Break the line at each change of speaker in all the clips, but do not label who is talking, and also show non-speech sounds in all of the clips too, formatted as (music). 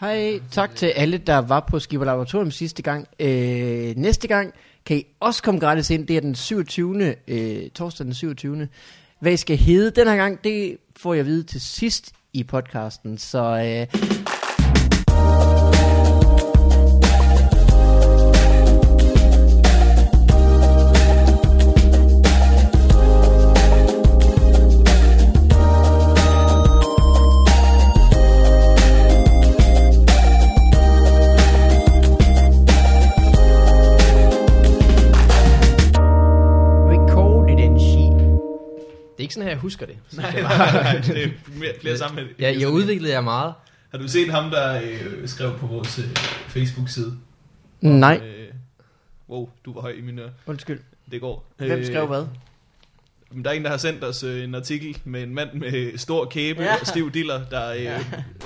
Hej, tak til alle, der var på Skipper Laboratorium sidste gang. Øh, næste gang kan I også komme gratis ind. Det er den 27. Øh, torsdag den 27. Hvad I skal hedde den her gang, det får jeg at vide til sidst i podcasten. Så øh, record it and shit.
Det er ikke sådan her, jeg
(laughs)
husker det.
Nej, nej, nej, det er mere, flere sammenhæng.
Jeg, jeg udviklede jer meget.
Har du set ham, der øh, skrev på vores øh, Facebook-side?
Nej,
Øh, wow, du var høj i mine ører.
undskyld. Øh,
Det går. Øh,
Hvem skrev hvad?
Men der er en, der har sendt os øh, en artikel med en mand med stor kæbe
Ja.
ja. og stiv diller, der øh, ja.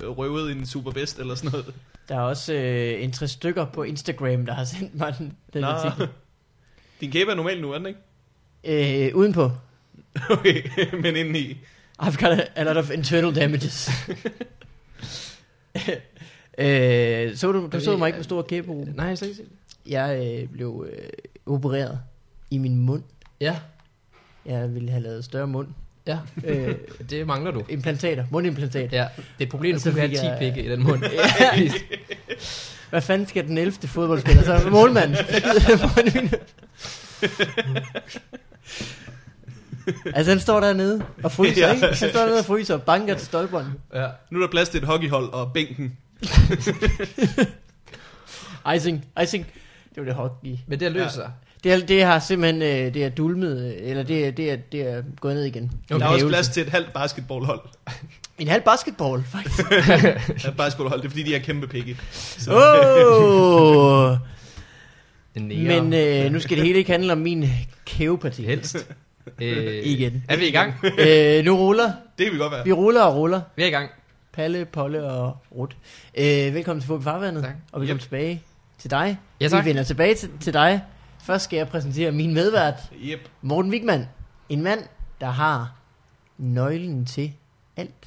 røvede en superbest eller sådan noget.
Der er også øh, en tre stykker på Instagram, der har sendt mig den, den artikel.
(laughs)
Nå. Din kæbe er normal nu, er den ikke? (laughs)
Øh, udenpå.
Okay, men indeni.
I've got a, a lot of internal damages. (laughs) øh, så du, du så mig ikke med stor kæbe, Ruben.
Nej, jeg har slet ikke set det.
Jeg øh, blev øh, opereret i min mund.
Ja,
Jeg ville have lavet større mund.
ja.
Øh,
Det mangler du.
implantater. Mundimplantater.
Ja, Altså, det er et problem,
Og
at
så
du kan have
fik
10
jeg-
pikke i den (laughs) mund.
Ja. Hvad fanden skal den 11. fodboldspiller så? (laughs) Målmand. altså han står dernede og fryser,
Ja.
ikke? Han står dernede og fryser og banker til stolperne.
Ja.
Nu er der plads til et hockeyhold og bænken.
Icing, icing. Det var det hockey.
Men det har løst sig.
Det, er, det har simpelthen, øh, det er dulmet, øh, eller det, er- det, er, det er gået ned igen.
Okay. Der er også plads til et halvt basketballhold.
En halv basketball, faktisk.
(laughs)
Ja, basketballhold, det er fordi, de har kæmpe pikke. Så,
Åh!
Den nære.
Men øh, nu skal det hele ikke handle om min kæveparti.
(laughs) Helst. Øh,
Igen.
Er vi i gang?
(laughs) Øh, nu ruller.
det kan vi godt være.
Vi ruller og ruller.
Vi er i gang.
Palle, Polle og Rut. Øh, velkommen til Fugt Farvandet.
Tak.
Og velkommen
Yep.
tilbage til dig.
Ja, tak.
Vi vender tilbage til, til dig. Først skal jeg præsentere min medvært,
Yep.
Morten Wigman. En mand, der har nøglen til alt.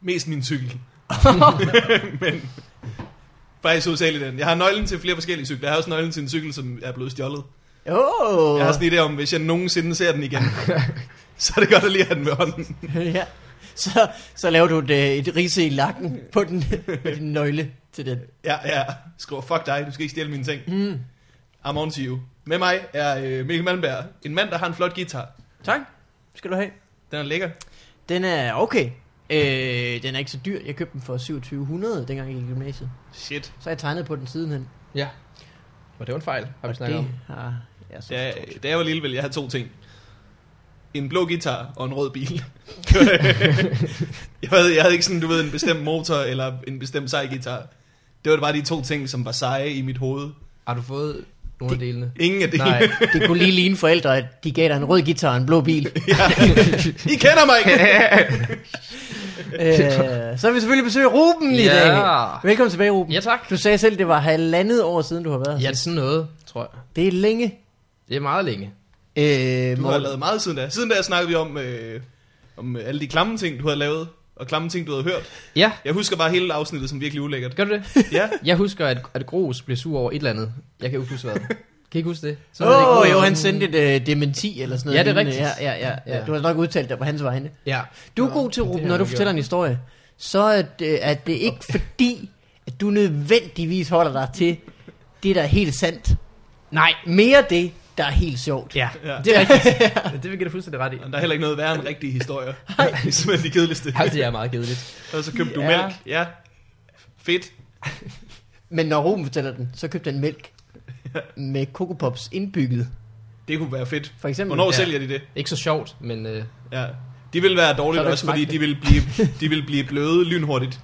Mest min cykel. (laughs) Men faktisk hovedsageligt den. Jeg har nøglen til flere forskellige cykler. Jeg har også nøglen til en cykel, som er blevet stjålet.
Åh!
Jeg har sådan en idé om, hvis jeg nogensinde ser den igen, så er det godt at lige have den med hånden.
(laughs) ja. Så, så laver du et, øh, et rise i lakken på den, med din nøgle til den.
Ja, ja. Skriver, fuck dig, du skal ikke stjæle mine ting. Mm. I'm on to you. Med mig er øh, Mikkel Malmberg. En mand, der har en flot guitar.
Tak. Skal du have?
Den er lækker.
Den er okay. Øh, den er ikke så dyr. Jeg købte den for 2700, dengang jeg gik i gymnasiet.
Shit.
Så har jeg tegnet på den sidenhen.
Ja. Og det var en fejl, har vi
og
snakket
det
om.
har jeg så
Da,
ja,
da jeg var lille, ville jeg have to ting. En blå guitar og en rød
(laughs)
bil. jeg, havde, jeg havde ikke sådan, du ved, en bestemt motor eller en bestemt sej guitar. Det var bare de to ting, som var seje i mit hoved.
Har du fået nogle af (laughs) delene?
Ingen af det. (laughs)
Nej.
Det kunne lige ligne forældre, at de gav dig en rød guitar og en blå bil.
I kender mig ikke!
(laughs)
øh, så har vi selvfølgelig besøg af Ruben i
Ja.
dag. Velkommen tilbage, Ruben.
Ja, tak.
Du sagde selv, det var halvandet år siden, du har været
Ja,
her.
det er sådan noget, tror jeg.
Det er længe.
Det er meget længe.
Øh,
Du har
Morten,
lavet meget siden da. Siden da snakkede vi om, øh, om øh, alle de klamme ting, du havde lavet, og klamme ting, du havde hørt.
Ja,
Jeg husker bare hele afsnittet som virkelig ulækkert.
gør du det?
Ja,
Jeg husker, at, at Gros blev sur over et eller andet. Jeg kan ikke huske hvad. Kan I ikke huske det? Så er det
Åh,
ikke
oh,
Gros.
jo, han sendte et øh, dementi eller sådan noget.
Ja, det er
lignende.
rigtigt.
Ja, ja, ja, ja.
Ja.
Du har nok udtalt dig på hans vegne.
Ja.
Du er god til,
det
Ruben,
har
når
jeg
du
gjort.
fortæller en historie, så er det, at det ikke fordi, at du nødvendigvis holder dig til det, der er helt sandt.
Nej.
Mere det, der er helt sjovt.
Ja,
Ja.
det
(laughs)
er rigtigt. det vil jeg give dig fuldstændig ret i.
og der er heller ikke noget værre end rigtige historier. (laughs) Det er simpelthen de kedeligste.
Altså, det er meget kedeligt.
Og så købte du
Ja.
mælk. Ja. Fedt.
Men når Ruben fortæller den, så købte han mælk med Coco Pops indbygget,
Det kunne være fedt.
for eksempel.
Hvornår
Ja.
sælger de det?
Ikke så sjovt, men øh,
Ja. De vil være
Så
dårligt
har du
også,
ikke
fordi
smagt
de
det.
vil, blive, de vil blive bløde lynhurtigt.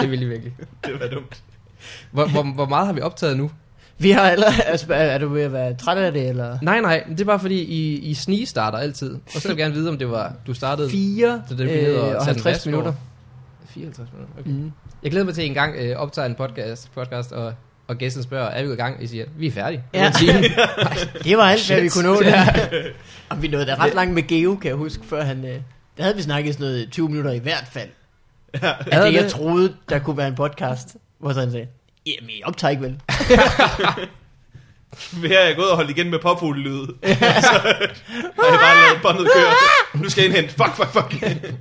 det vil jeg virkelig.
Det vil være dumt.
Hvor, hvor, hvor meget har vi optaget nu?
Vi har allerede, altså, er er du ved at være træt af det, eller?
Nej, nej, men det er bare fordi, I, I snige starter altid. Og så vil jeg gerne vide, om det var, du startede...
4
Så det bliver
øh,
at
og
tage
50
den fast
minutter.
over. 54 minutter, okay.
Mm.
Jeg glæder mig til, at I engang øh, optager en podcast, podcast og, og gæsten spørger, er vi i gang? I siger, vi er færdige.
Ja.
Det er en time.
Det var alt, hvad vi
Shit.
kunne nå det. og vi nåede da ret langt med Geo, kan jeg huske, før han... Øh, der havde vi snakket sådan noget 20 minutter i hvert fald.
Ja.
Af det,
det?
jeg troede, der kunne være en podcast, hvor så han sagde, jamen, jeg optager ikke vel.
Her er jeg gået og holdt igen med påfuglelyde.
(laughs)
Ja. Så har jeg bare lavet båndet køre. Nu skal jeg indhente. Fuck,
(laughs)
fuck, fuck.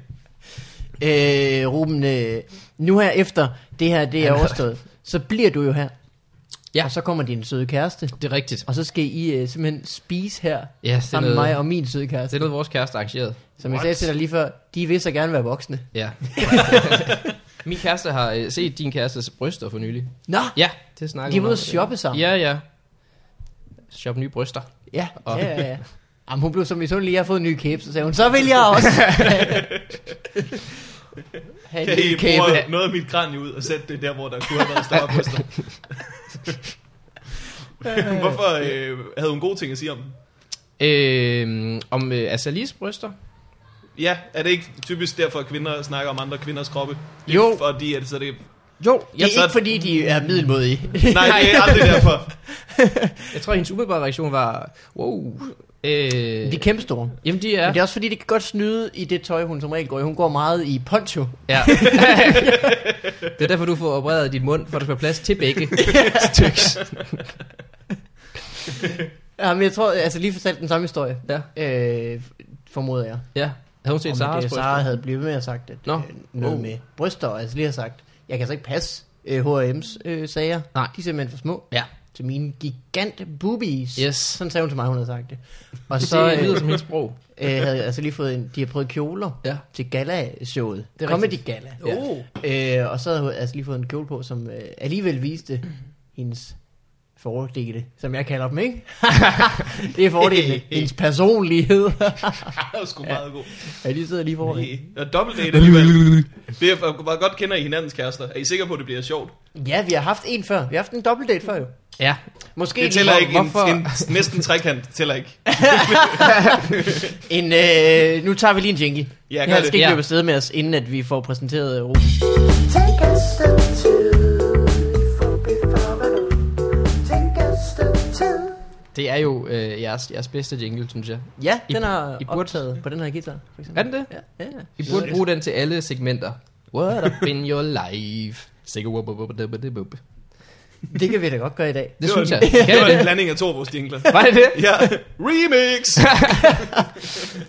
Øh, Ruben, øh, nu her efter det her, det er overstået, så bliver du jo her.
Ja.
Og så kommer din søde kæreste.
Det er rigtigt.
Og så skal I øh, simpelthen spise her,
Ja, det er,
sammen med
noget,
mig og min søde
det er
kæreste.
noget, vores kæreste arrangeret.
Som jeg
What?
sagde til dig lige før, de vil så gerne være voksne. (laughs)
Ja. Min kæreste har øh, set din kærestes bryster for nylig.
Nå,
Ja, det snakker
de
hun
er ude
om.
at shoppe sammen.
Ja, ja. Shoppe nye bryster.
Ja, ja,
Og-
ja. ja. Jamen, hun blev så misundelig, jeg har fået en ny kæbe, så sagde hun, så vil jeg også. have
Kan
en ny
I
kæbe.
bruge noget af mit kranje ud og sætte det der, hvor der kunne have været
(laughs)
større bryster? Hvorfor øh, havde hun gode ting at sige om den?
Øhm, om øh, Asalis bryster?
Ja, er det ikke typisk derfor, at kvinder snakker om andre kvinders kroppe? Det er
Jo.
Fordi at så det...
Jo,
Det er
jeg,
ikke fordi, de er middelmodige.
Nej, det er aldrig derfor.
jeg tror, hendes umiddelbare reaktion var, wow. Øh,
(laughs) de er kæmpe store.
jamen, de
Ja.
er...
Men det er også fordi, det kan godt snyde i det tøj, hun som regel går i. Hun går meget i poncho.
Ja. det er derfor, du får opereret din mund, for at der skal være plads til begge styks.
Ja, men jeg tror, altså lige fortalt den samme historie,
Ja,
øh, formoder jeg.
ja. Havde hun set
Om
Sarahs
Sarah,
bryster?
Sarah havde blevet med og sagt, at
Nå.
øh, noget
Oh.
med bryster, og altså lige har sagt, jeg kan altså ikke passe øh, H&M's øh, sager.
Nej.
De er simpelthen for små.
Ja.
Til mine gigant boobies.
Yes.
Sådan sagde hun til mig, hun havde sagt det. Og
Så
så
det lyder
øh,
som hendes sprog.
øh, havde jeg altså lige fået en, de har prøvet kjoler
Ja.
til gala-showet.
Det er
Comedy
rigtigt.
gala.
Ja.
Oh.
Øh, og så havde hun altså lige fået en kjole på, som øh, alligevel viste hendes fordele, som jeg kalder dem, ikke? (laughs) det er
(laughs)
fordelen. hendes personlighed.
(laughs) Det var sgu meget god.
ja, de sidder lige foran.
Og dobbelt date alligevel. Det er, hvor godt kender I hinandens kærester. Er I sikre på, at det bliver sjovt?
Ja, vi har haft en før. Vi har haft en dobbeltdate før jo.
Ja,
Måske
Det tæller
en-
ikke. En,
hvorfor-
en, næsten trekant tæller ikke.
En, øh, nu tager vi lige en jingle.
Ja,
det her
gør
skal
det.
ikke
Ja.
løbe afsted med os, inden at vi får præsenteret Ruben.
Take a step two before before Take a step two.
det er jo øh, jeres, jeres bedste jingle, synes jeg.
Ja,
I-
den har
I
I
burde-
burde... optaget på den her guitar, for eksempel.
Er den det?
Ja, ja.
I burde bruge den til alle segmenter. What up in your life? Sikke wup, wup, wup, wup, wup, wup.
Det kan vi da godt gøre i dag.
Det synes
var,
jeg. Kan
det var en
det?
blanding af to af vores jingler.
Var det
(laughs)
det?
Ja, remix!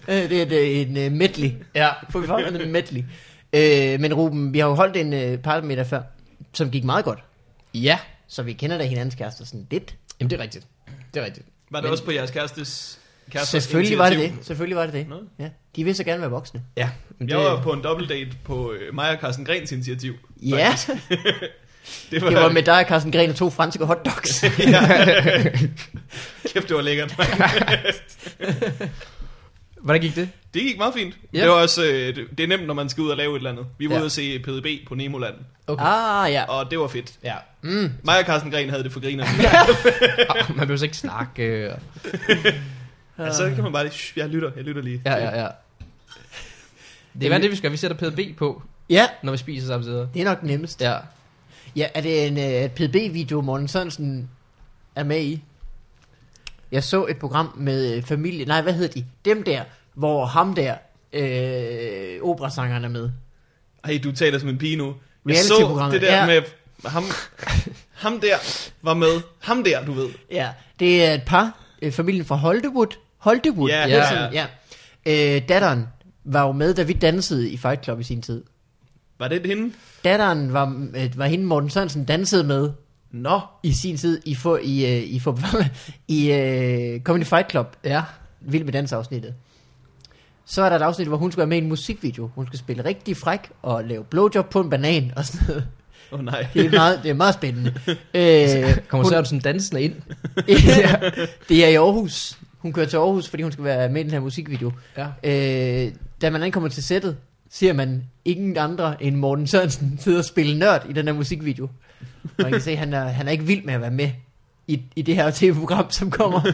Øh, det er det er en øh, medley.
Ja.
For vi får en medley. Øh, men Ruben, vi har jo holdt en øh, parmiddag før, som gik meget godt.
Ja,
Så vi kender da hinandens kærester sådan lidt.
jamen det er rigtigt. Det er rigtigt.
Var det
Men-
også på jeres kærestes kærestes
Selvfølgelig var det
initiativ?
det. Selvfølgelig var det det.
Nå.
Ja. De vil så gerne være voksne.
Ja. Men det,
Jeg var på en dobbeltdate på øh, mig og Carsten Grens initiativ.
(laughs)
Ja,
Det
det var med dig, Carsten Gren og to franske
(laughs)
hotdogs.
(laughs) ja. (laughs) Kæft, det var lækkert.
hvordan gik det?
Det gik meget fint.
Ja.
Ja. Det, var også, øh, det, det er nemt, når man skal ud og lave et eller andet. Vi var
Ja.
ude at se PDB på Nemoland,
Okay.
ah ja. Mm.
og det var fedt.
Ja.
Mig og Carsten Gren havde det for griner.
(laughs) Ah, Man behøver så ikke snakke. øh. og-
Ja, så kan man bare lige, "Shh, jeg lytter, jeg lytter lige.
Ja, ja, ja. Det er hvad det, vi skal. Vi sætter PDB på,
Ja,
når vi spiser samtidig.
det er nok nemmest.
Ja.
Ja, er det en uh, PB-video, Morten Sørensen er med i? Jeg så et program med øh, familie... Nej, hvad hed de? Dem der, hvor ham der, øh, operasangeren er med.
Ej, du taler som en pige nu. Jeg så
Reality-programmet,
det der
ja.
ja. med ham, ham der var med. Ham der, du ved.
Ja, det er et par. Øh, familien fra Hollywood. Hollywood.
Ja,
hedder sådan,
ja.
ja. Øh, datteren var jo med, da vi dansede i Fight Club i sin tid.
Var det hende?
Datteren var, øh, var hende, Morten Sørensen dansede med
Nå.
i sin tid i, for, i, øh, i, for, (laughs) i øh, Comedy Fight Club.
Ja.
Vild med dans afsnittet. Så er der et afsnit, hvor hun skal være med i en musikvideo. Hun skal spille rigtig fræk og lave blowjob på en banan og sådan noget.
Åh oh, nej.
Det er meget, det er meget
(laughs)
spændende. Øh,
Kommer
hun,
Sørensen dansende ind?
(laughs) ja, det er i Aarhus. Hun kører til Aarhus, fordi hun skal være med i den her musikvideo.
Ja.
Øh, da man ankommer til sættet, ser man ingen andre end Morten Sørensen sidde og spille nørd i den her musikvideo. Og man kan se, at han er, han er ikke vild med at være med i, i det her tv-program, som
(laughs)
kommer.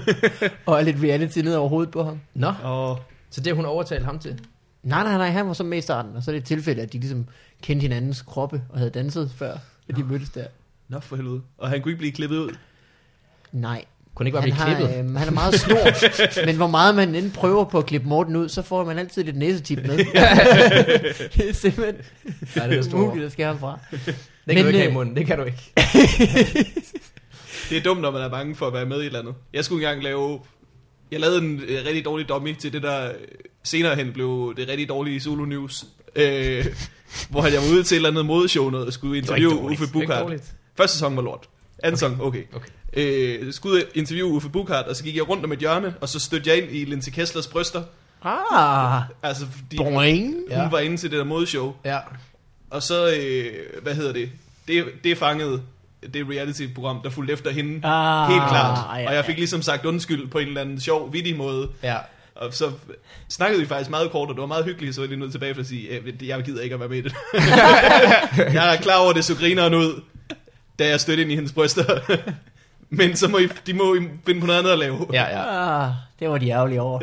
og er lidt reality ned over hovedet på ham.
Nå,
Og
så det har hun overtalt ham til.
Nej, nej, nej, han var så med i starten, og så er det et tilfælde, at de ligesom kendte hinandens kroppe og havde danset før, at de mødtes der.
Nå for helvede. Og han kunne ikke blive klippet ud.
Nej,
Kunne ikke bare
han,
blive klippet?
har, øhm, han er meget
(laughs)
stor, men hvor meget man end prøver på at klippe Morten ud, så får man altid lidt næsetip med.
(laughs)
(laughs) det er simpelthen
Nej, det er stor.
umuligt at skære ham fra.
Det kan
Men,
du ikke have i
øh,
munden, det kan du ikke.
Det er dumt, når man er bange for at være med i et eller andet. Jeg skulle engang lave... Jeg lavede en øh, rigtig dårlig dummy til det, der øh, senere hen blev det rigtig dårlige Zulu News. Øh, hvor jeg var ude til et eller andet modeshow, noget, og skulle
var ikke
interviewe
dårligt.
Uffe
Det var ikke
Bukhardt.
dårligt.
Første sæson var lort. Anden sæson, okay.
Okay.
Øh, jeg skulle ud og interviewe Uffe Bukhardt, og så gik jeg rundt om et hjørne, og så stødte jeg ind i Linse Kesslers bryster.
Ah,
Altså, fordi hun
boing.
Ja.
var inde til det der modeshow.
Ja.
Og så, øh, hvad hedder det? det? Det fangede det reality-program, der fulgte efter hende.
Ah,
Helt klart.
ja,
og jeg fik
ja.
ligesom sagt undskyld på en eller anden sjov, vittig måde.
Ja.
Og så snakkede vi faktisk meget kort, og det var meget hyggeligt, så var jeg lige nødt tilbage for at sige, "Øh, jeg gider ikke at være med i (laughs) det. jeg er klar over, det så grineren ud, da jeg stødte ind i hendes bryster. (laughs) Men så må I, de må I finde på noget andet at lave.
Ja, ja.
Ah, det var de ærgerlige over.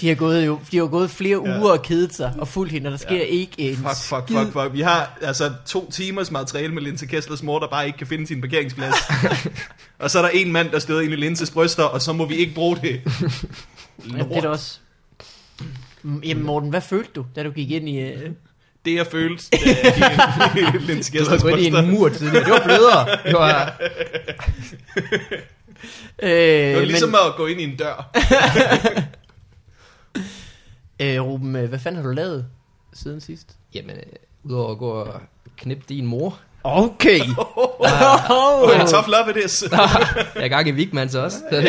de har gået, jo, de har gået flere
Ja.
ja. uger og kedet sig og fulgt hende, og der sker ja. ikke en
Fuck, fuck, fuck, fuck. Vi har altså to timers materiale med Linse Kesslers mor, der bare ikke kan finde sin
(laughs)
parkeringsplads. og så er der en mand, der støder ind i Linses bryster, og så må vi ikke bruge det.
Jamen, det er det også. Mm, Jamen Morten, hvad følte du, da du gik ind i... Øh...
Det jeg følte,
(laughs)
da jeg gik ind i Linse
Du
Kesslers
stod ind i
bryster.
en mur tidligere. Det var (laughs) blødere. Det var,
Det
Øh,
var ligesom at gå ind i en dør.
men, øh, Ruben, øh, hvad fanden har du lavet siden sidst?
jamen, øh, udover at gå og knippe din mor.
Okay. (laughs)
Oh.
oh.
tough love it is.
Jeg er gang i Vigmans også. (laughs) Så det,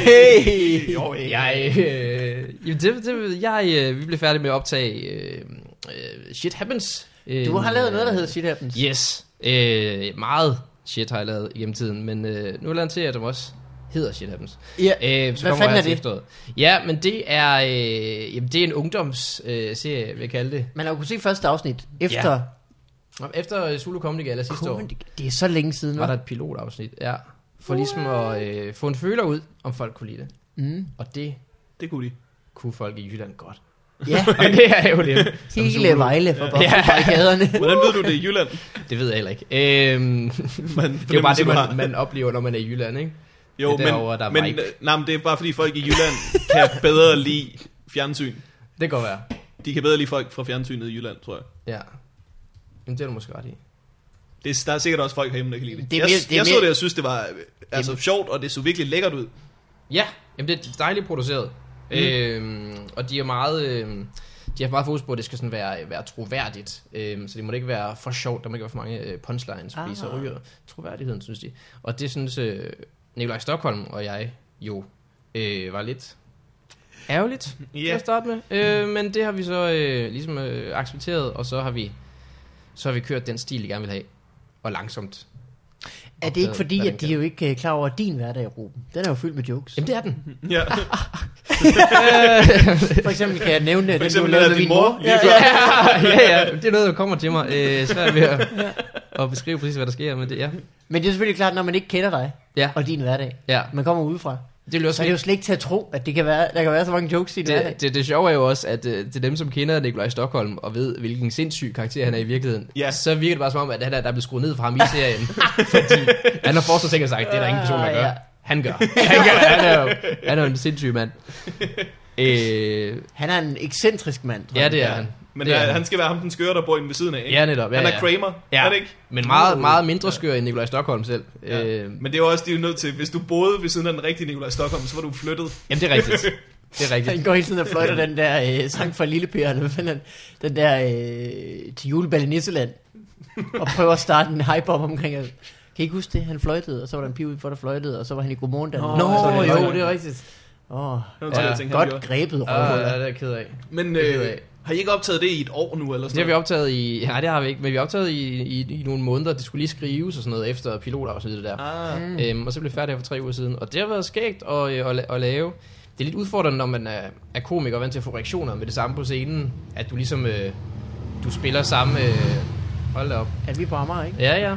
Hey.
jo, øh,
jeg, øh, (laughs) jamen, det, det, jeg, øh, vi blev færdige med at optage øh, øh, Shit Happens. Øh,
Du har lavet noget, der hedder Shit Happens.
Yes. Øh, meget shit har jeg lavet igennem tiden, men øh, nu lancerer jeg dem også. Hedder Shit Happens.
Ja,
Øh, så
hvad
kommer
fanden
jeg
er
til
det?
efteråret. Ja, men det er, øh, jamen, det er en ungdomsserie, øh, serie, vil jeg kalde det.
Man har jo kunnet se første afsnit efter...
Ja. Nå, Efter øh, Zulu Comedy Gala sidste år.
Kun, det er så længe siden.
var der
hva'?
et pilotafsnit, ja. For ligesom at øh, få en føler ud, om folk kunne lide det.
Mm.
Og det
Det kunne de.
kunne folk i Jylland
(laughs)
godt.
Ja,
Og det er jo lidt. som
hele
Zulu.
Vejle for
Ja.
barrikaderne.
Hvordan ved du det er i Jylland?
(laughs) Det ved jeg heller ikke. Øhm,
Man,
det er jo bare det,
har.
man, man oplever, når man er i Jylland, ikke?
jo,
det er
men,
derovre, der er
men,
vibe.
øh, nej, men det er bare fordi folk i Jylland kan bedre lide fjernsyn.
Det kan godt være.
De kan bedre lide folk fra fjernsynet i Jylland, tror jeg.
Ja. Jamen, det er du måske ret i.
Det er, der er sikkert også folk herhjemme, der kan lide det.
Det
det
er
mere,
mere-
jeg,
det er
jeg så
mere-
det, jeg synes, det var øh, altså, sjovt, og det så virkelig lækkert ud.
Ja, jamen det er dejligt produceret. Mm. Øhm, og de er meget... Øhm, de har meget fokus på, at det skal sådan være, være troværdigt. Øhm, så det må ikke være for sjovt, der må ikke være for mange øh, punchlines, fordi ah. så
Ah.
ryger troværdigheden, synes de. Og det synes øh, Nikolaj Stockholm og jeg jo øh, var lidt (laughs) ærgerligt
Ja.
yeah. til at starte med. Øh, men det har vi så øh, ligesom øh, accepteret, og så har vi så har vi kørt den stil, vi gerne vil have. Og langsomt.
Er det ikke
Opdaget,
fordi,
hvad den
at de
kan.
jo ikke øh, er klar over at din hverdag, Ruben? Den er jo fyldt med jokes.
Jamen det er den.
Ja.
(laughs)
For eksempel kan jeg nævne, at
For
den du
eksempel
lavede
lavede
med
din
min
mor.
mor.
lige
Ja,
før.
ja.
(laughs)
(laughs) ja, ja, det er noget, der kommer til mig. Øh, svært ved at, at beskrive præcis, hvad der sker, men det ja.
Men det er selvfølgelig klart, når man ikke kender dig
Ja,
og din hverdag,
ja.
man kommer udefra,
Det er jo
så
også
er det jo slet ikke til at tro, at det kan være, der kan være så mange jokes i din hverdag.
det, det, det sjove er jo også, at øh, til dem, som kender Nikolaj Stockholm og ved, hvilken sindssyg karakter han er i virkeligheden,
Ja.
så virker det bare som om, at han er, der er blevet skruet ned fra ham i serien. (laughs) fordi han har forsket ting og sagt, det er der ingen person, der gør.
Ja.
Han gør. Han, gør. han, er, jo, han er jo en
(laughs)
sindssyg mand. Øh,
Han er en ekscentrisk mand. tror
ja,
jeg.
det er han.
(laughs) Men
det
der, han skal være ham, den skøre, der bor inde ved siden af. Ikke?
Ja, netop. Ja,
han er
ja.
Kramer,
Ja.
er det ikke?
Men meget, meget mindre skør end Nikolaj Stockholm selv.
Ja.
Øh,
Men det er jo også, de er jo nødt til, hvis du boede ved siden af den rigtige Nikolaj Stockholm, så var du flyttet.
Jamen, det er rigtigt. Det
(laughs)
er rigtigt.
Han går hele tiden og fløjter den der øh, sang fra Lille Per, eller hvad fanden er det? den der øh, til julebal i Nisseland, og prøver at starte en hype op omkring, at, kan I ikke huske det? Han fløjtede, og så var der en pige ude for, der fløjtede, og så var han i Godmorgen Danmark.
Nå,
så
jo, det
er rigtigt.
Åh,
Det var sådan,
Ja,
jeg tænkte,
godt
han gjorde.
grebet
Ah, Ja, det
røvhuller.
er jeg ked af.
Men
Det er jeg
øh, har I ikke optaget det i et år nu? Eller
Det har
sådan
vi optaget i... Nej, det har vi ikke, men vi har optaget i, i, i nogle måneder. Det skulle lige skrives og sådan noget efter pilotafsnittet der.
noget? Ah,
Øhm, og så blev jeg færdig her for tre uger siden. Og det har været skægt at, øh, at, la- at lave. Det er lidt udfordrende, når man er, er komiker og vant til at få reaktioner med det samme på scenen. At du ligesom... Øh, du spiller samme... Øh, hold da op.
Er vi på Amager, ikke?
Ja, (laughs) ja.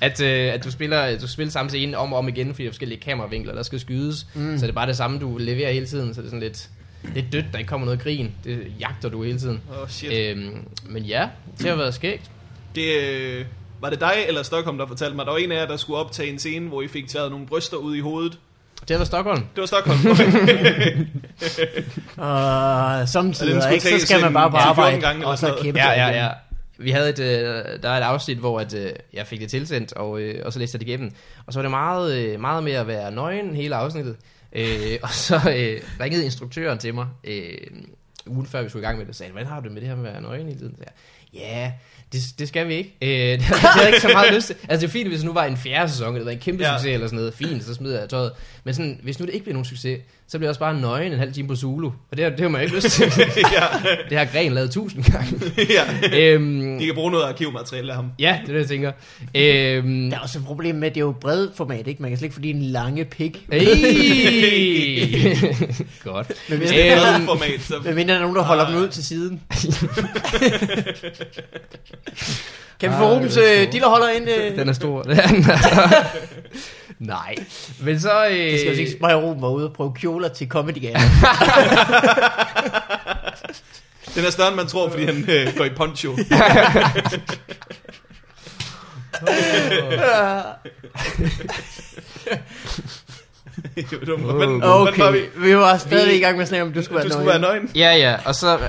at, øh, at du spiller, du spiller samme scene om og om igen, fordi der er forskellige kameravinkler, der skal skydes. Mm. Så det er bare det samme, du leverer hele tiden, så det er sådan lidt, lidt dødt, der ikke kommer noget grin. Det jagter du hele tiden.
oh, shit.
Øhm, men ja, det har været skægt.
Det, øh, Var det dig eller Stockholm, der fortalte mig, at der var en af jer, der skulle optage en scene, hvor I fik taget nogle bryster ud i hovedet?
Det har været Stockholm.
Det var Stockholm. (laughs) Okay.
Og
Og den
samtidig,
skulle
ikke? Så
tages
skal man
en-
bare på
ja, 14
arbejde,
gange eller
og
sådan
så
noget.
kæmpe.
Ja, ja,
igen.
ja. Vi havde et, øh, der er et afsnit, hvor at, øh, jeg fik det tilsendt, og, øh, og så læste jeg det igennem. Og så var det meget, øh, meget med at være nøgen hele afsnittet. Øh, og så øh, ringede instruktøren til mig øh, ugen før vi skulle i gang med det, og sagde, hvordan har du det med det her med at være nøgen hele tiden? Så jeg, ja, det, det skal vi ikke. Øh, (laughs) det havde jeg ikke så meget lyst til. Altså det er fint, hvis det nu var en fjerde sæson, eller en kæmpe
Ja.
ja. succes eller sådan noget. Fint, så smider jeg tøjet. Men sådan, hvis nu det ikke bliver nogen succes, så bliver jeg også bare nøgen en halv time på Zulu. Og det, har- det har man jo ikke lyst til.
(laughs) ja,
det har Gren lavet tusind gange.
ja.
øhm,
De kan bruge noget arkivmateriale af ham.
Ja, det er det, jeg tænker. Øhm,
Der er også et problem med, at det er jo bredformat, ikke? Man kan slet ikke få din lange pik.
Ey! Godt.
Men hvis
Hvis det er
Øhm.
noget format, så...
Hvad mindre der er nogen, der holder dem ud til (laughs) siden. kan vi få
Ah,
Rubens
det er
øh,
sjovt.
dillerholder ind? Øh?
Den er stor. (laughs) Det er den altså. Nej. Men så... Øh,
Det skal jo ikke mig og Ruben var ude og prøve kjoler til Comedy (laughs) Gala.
Den er større, end man tror, fordi han øh, går i poncho. jo, det var, men, okay. var vi?
Okay, vi var stadig
Vi-
i gang med at snakke om, du skulle
Du
være
skulle være
nøgen.
nøgen.
Ja, ja. Og så øh,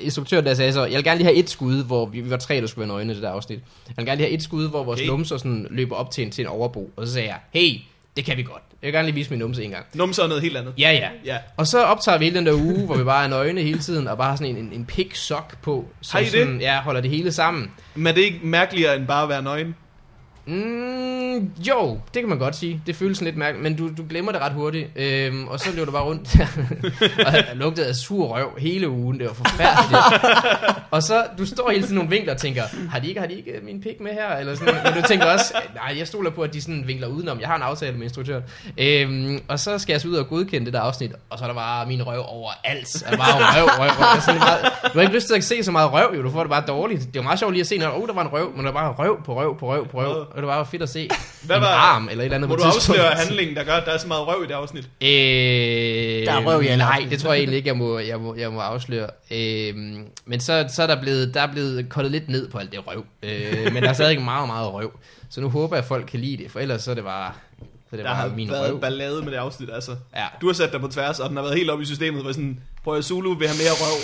instruktøren der sagde så, jeg vil gerne lige have et skud, hvor vi, vi var tre, der skulle være nøgne i det der afsnit. Jeg vil gerne lige have et skud, hvor vores
Okay.
okay. numser sådan løber op til en, til en overbo. Og så sagde jeg, hey, det kan vi godt. Jeg vil gerne lige vise min numse en gang.
Numser er noget helt andet.
Ja, ja.
Ja.
Og så optager vi hele den der uge, hvor vi bare er nøgne hele tiden, og bare har sådan en, en, en pik sok på, så
Har I det?
sådan, ja, holder det hele sammen.
Men er det ikke mærkeligere, end bare at være nøgen?
Mm, jo, det kan man godt sige. Det føles sådan lidt mærkeligt, men du, du glemmer det ret hurtigt. Øhm, og så løb du bare rundt og jeg lugtede af sur røv hele ugen. Det var forfærdeligt. og så, du står hele tiden i nogle vinkler og tænker, har de ikke, har de ikke øh, min pik med her? Eller sådan, noget. men du tænker også, nej, jeg stoler på, at de sådan vinkler udenom. Jeg har en aftale med instruktøren. Øhm, og så skal jeg så ud og godkende det der afsnit, og så er der bare min røv overalt. Altså, Og bare røv, røv, røv. Og Sådan meget, du har ikke lyst til at se så meget røv, jo. du får det bare dårligt. Det er jo meget sjovt lige at se, når oh, der var en røv, men der var bare røv på røv på røv på røv. Og det var bare fedt at se
Hvad
Hvad en
var-
arm eller et eller andet
Må
på
du
et tidspunkt.
afsløre handlingen, der gør, at der er så meget røv i det afsnit?
Øh,
Der er røv i alle
Nej,
afsnit.
det tror jeg egentlig ikke, jeg må, jeg må, jeg må afsløre. Øh, men så, så er der blevet, der er blevet kottet lidt ned på alt det røv. Øh, men der er stadig meget, meget røv. Så nu håber jeg, at folk kan lide det, for ellers så er det bare, så er det
Der har
bare min
været
røv.
ballade med det afsnit, altså.
Ja,
Du har sat dig på tværs, og den har været helt oppe i systemet, hvor sådan, prøv at Zulu vil have mere røv.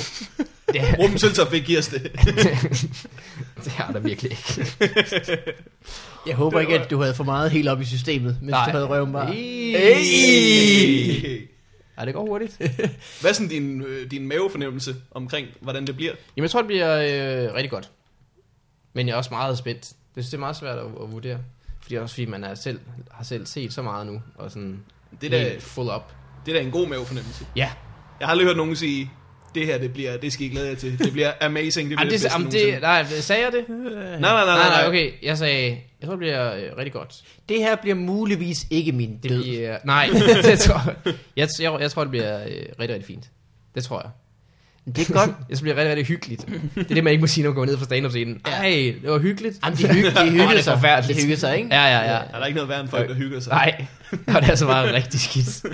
det, (laughs)
Ruben Søltoft vil give os det.
det har der virkelig ikke.
Jeg håber ikke, at du havde for meget helt op i systemet, mens
Nej.
du havde røven bare.
Hey. Ej, det går hurtigt.
Hvad er sådan din, øh, din mavefornemmelse omkring, hvordan det bliver?
Jamen, jeg tror, det bliver øh, rigtig godt. Men jeg er også meget spændt. Det synes, det er meget svært at, at vurdere. Fordi også fordi man er selv, har selv set så meget nu, og sådan
Det
det
er da-
der, helt full up.
Det er da en god mavefornemmelse.
Ja,
Jeg har aldrig hørt nogen sige, det her, det bliver, det skal I glæde jer til. Det bliver amazing, det bliver
Jamen, det,
bedste
jamen,
nogensinde."
det, nej, sagde jeg det? Nej,
Nej, nej, nej,
nej,
nej, nej, okay.
okay. Jeg sagde, jeg tror, det bliver øh, rigtig godt.
Det her bliver muligvis ikke min
Det
død.
bliver, nej, (laughs) det tror jeg. Jeg, jeg, jeg tror, det bliver øh, rigtig, rigtig fint. Det tror jeg.
Det er godt.
Jeg synes, det bliver rigtig, rigtig hyggeligt. Det er det, man ikke må sige, når man går ned fra stand-up scenen. Ej, det var hyggeligt.
Jamen, de, hygge, de
Åh, det
hyggede
er
sig. De
forfærdeligt.
hyggede sig, ikke?
Ja, ja, ja.
Der er da ikke noget værre end folk, der hygger sig.
Nej, (laughs) og det er så meget rigtig skidt.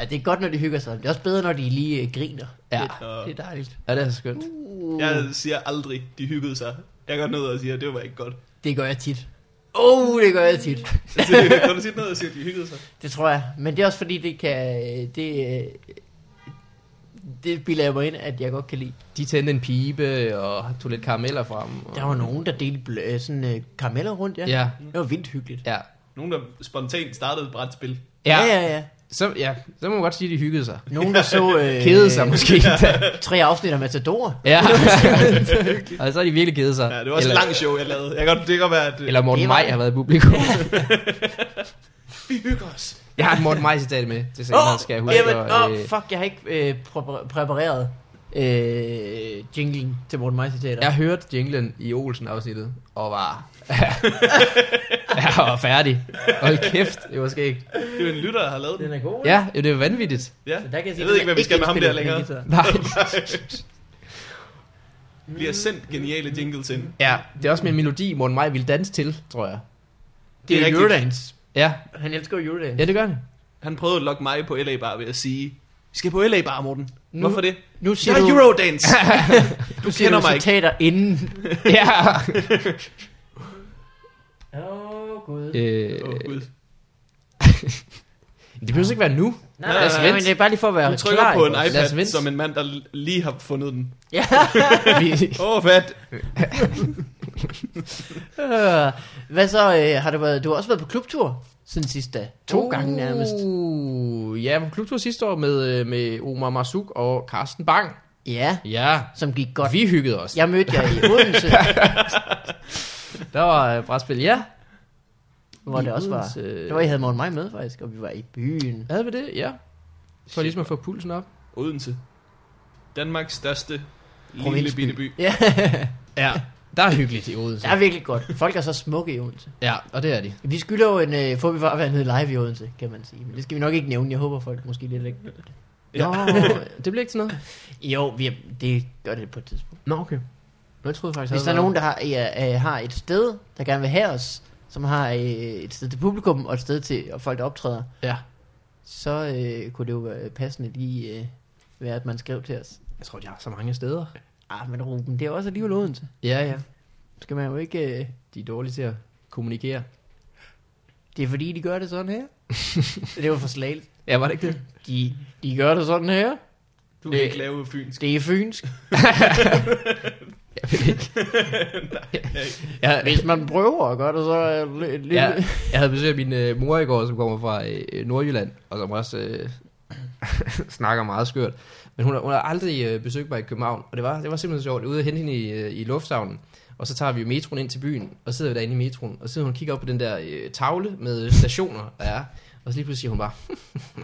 Ja, det er godt, når de hygger sig. Det er også bedre, når de lige øh, griner.
Ja.
Det, det er dejligt.
Ja, det er så skønt.
Jeg siger aldrig, de hyggede sig. Jeg går ned og siger, det var ikke
(laughs)
godt. Altså,
Det gør jeg tit. Oh, det gør jeg tit.
Kan du sige noget og sige, at de hyggede sig?
Det tror jeg. Men det er også fordi, det kan... øh, Det, øh, det bilder jeg mig ind, at jeg godt kan lide.
De tændte en pibe og tog lidt karameller frem. Og...
Der var nogen, der delte bl- øh, sådan øh, karameller rundt, ja.
Ja,
Det var vildt hyggeligt.
ja.
Nogen, der spontant startede et brætspil.
Ja,
ja, ja. ja.
Så, ja, så må man godt sige, at de hyggede sig.
Nogen, der
(laughs)
så øh,
Kede sig måske. (laughs)
tre afsnit af Matador.
Ja. (laughs) og så er de virkelig kede sig.
Ja, det var også
eller,
et langt show, jeg lavede. Jeg kan godt, det kan godt være, at øh,
Eller Morten
Det var-
Maj har været i publikum. (laughs)
vi hygger os.
jeg har et Morten Maj citat med. Det senere
Åh,
oh, skal jeg
oh,
huske.
jamen,
og,
åh, oh, fuck, jeg har ikke øh, præ- præpareret øh, jinglen til Morten Maj citater.
jeg hørte jinglen i Olsen afsnittet og var... jeg var færdig. Hold kæft, det var skægt.
Det er jo en lytter, der har lavet den.
Den er god. ikke?
Ja, jo, det var vanvittigt.
Ja.
Så der kan jeg, sige,
jeg ved
den
ikke, hvad vi
er
skal med ham der
indspillet på
længere.
den guitar.
Nej.
Vi har sendt geniale jingles ind.
Ja, det er også med en melodi, Morten Maj ville danse til, tror jeg.
Det er
Det er
rigtigt.
Eurodance.
Ja,
Han elsker jo Eurodance.
ja det gør han.
Han prøvede at lokke mig på LA Bar ved at sige, vi skal på LA Bar, Morten.
Nu-
Hvorfor det?
Nu siger
Jeg er
du,
Eurodance.
du siger
kender
du
mig ikke.
citater inden.
Ja.
måde.
Øh,
Åh, Gud.
det behøver ikke være nu.
Nej,
lad
nej,
os
nej,
vente.
men det er bare lige for at være
Du trykker
klar.
på en
ikke også?
Lad os
iPad,
vente.
som en mand, der l- lige har fundet den.
Ja.
Vi,
Åh, oh, fat.
Øh, Hvad så, øh, har du været, du har også været på klubtur siden sidste dag. To
Oh.
uh. gange nærmest.
Uh, ja, jeg var på klubtur sidste år med, øh, med Omar Masuk og Carsten Bang.
Ja,
Ja,
som gik godt.
vi hyggede os.
Jeg mødte jer
(laughs)
i Odense,
Der var øh, brætspil, ja.
hvor
I
det også var.
Odense. øh,
Det var, I havde morgen mig med faktisk, og vi var i byen.
Havde vi det? Ja. For ligesom at få pulsen op.
Odense. Danmarks største lille
Provinsby.
bitte by.
Ja, (laughs)
Ja, der er hyggeligt i Odense.
det er virkelig godt. Folk er så smukke i Odense.
Ja, og det er de.
Vi skylder jo en, øh, får vi bare være nede live i Odense, kan man sige. Men det skal vi nok ikke nævne. Jeg håber, folk måske lidt ikke.
(laughs)
Nå, det bliver ikke til noget.
Jo, vi er, det gør det på et tidspunkt.
Nå, okay. Nå, jeg troede faktisk,
Hvis der
havde
er
været-
nogen, der har, ja, øh, har et sted, der gerne vil have os, som har øh, et sted til publikum og et sted til og folk, der optræder,
Ja,
så øh, kunne det jo være passende lige øh, være, at man skrev til os.
jeg tror, de har så mange steder.
Ah, men Ruben, det er jo også alligevel Odense.
Ja, ja.
Skal man jo ikke... Øh,
De er dårlige til at kommunikere.
det er fordi, de gør det sådan her. det var for slagligt.
Ja, var det ikke det?
De, de gør det sådan her.
Du
Det-
kan ikke lave fynsk.
Det er fynsk.
(laughs) Jeg ved (laughs) ikke. Jeg,
Hvis man prøver at gøre det, så er det lidt... lidt- (laughs)
Ja, jeg havde besøg af min øh, mor i går, som kommer fra øh, Nordjylland, og som også øh, snakker meget skørt. Men hun, har- hun har aldrig øh, besøgt mig i København, og det var, det var simpelthen sjovt. Jeg er ude og hente hende i, øh, i lufthavnen, og så tager vi jo metroen ind til byen, og så sidder vi derinde i metroen, og så sidder hun og kigger op på den der øh, tavle med stationer, der er. Og så lige pludselig siger hun bare,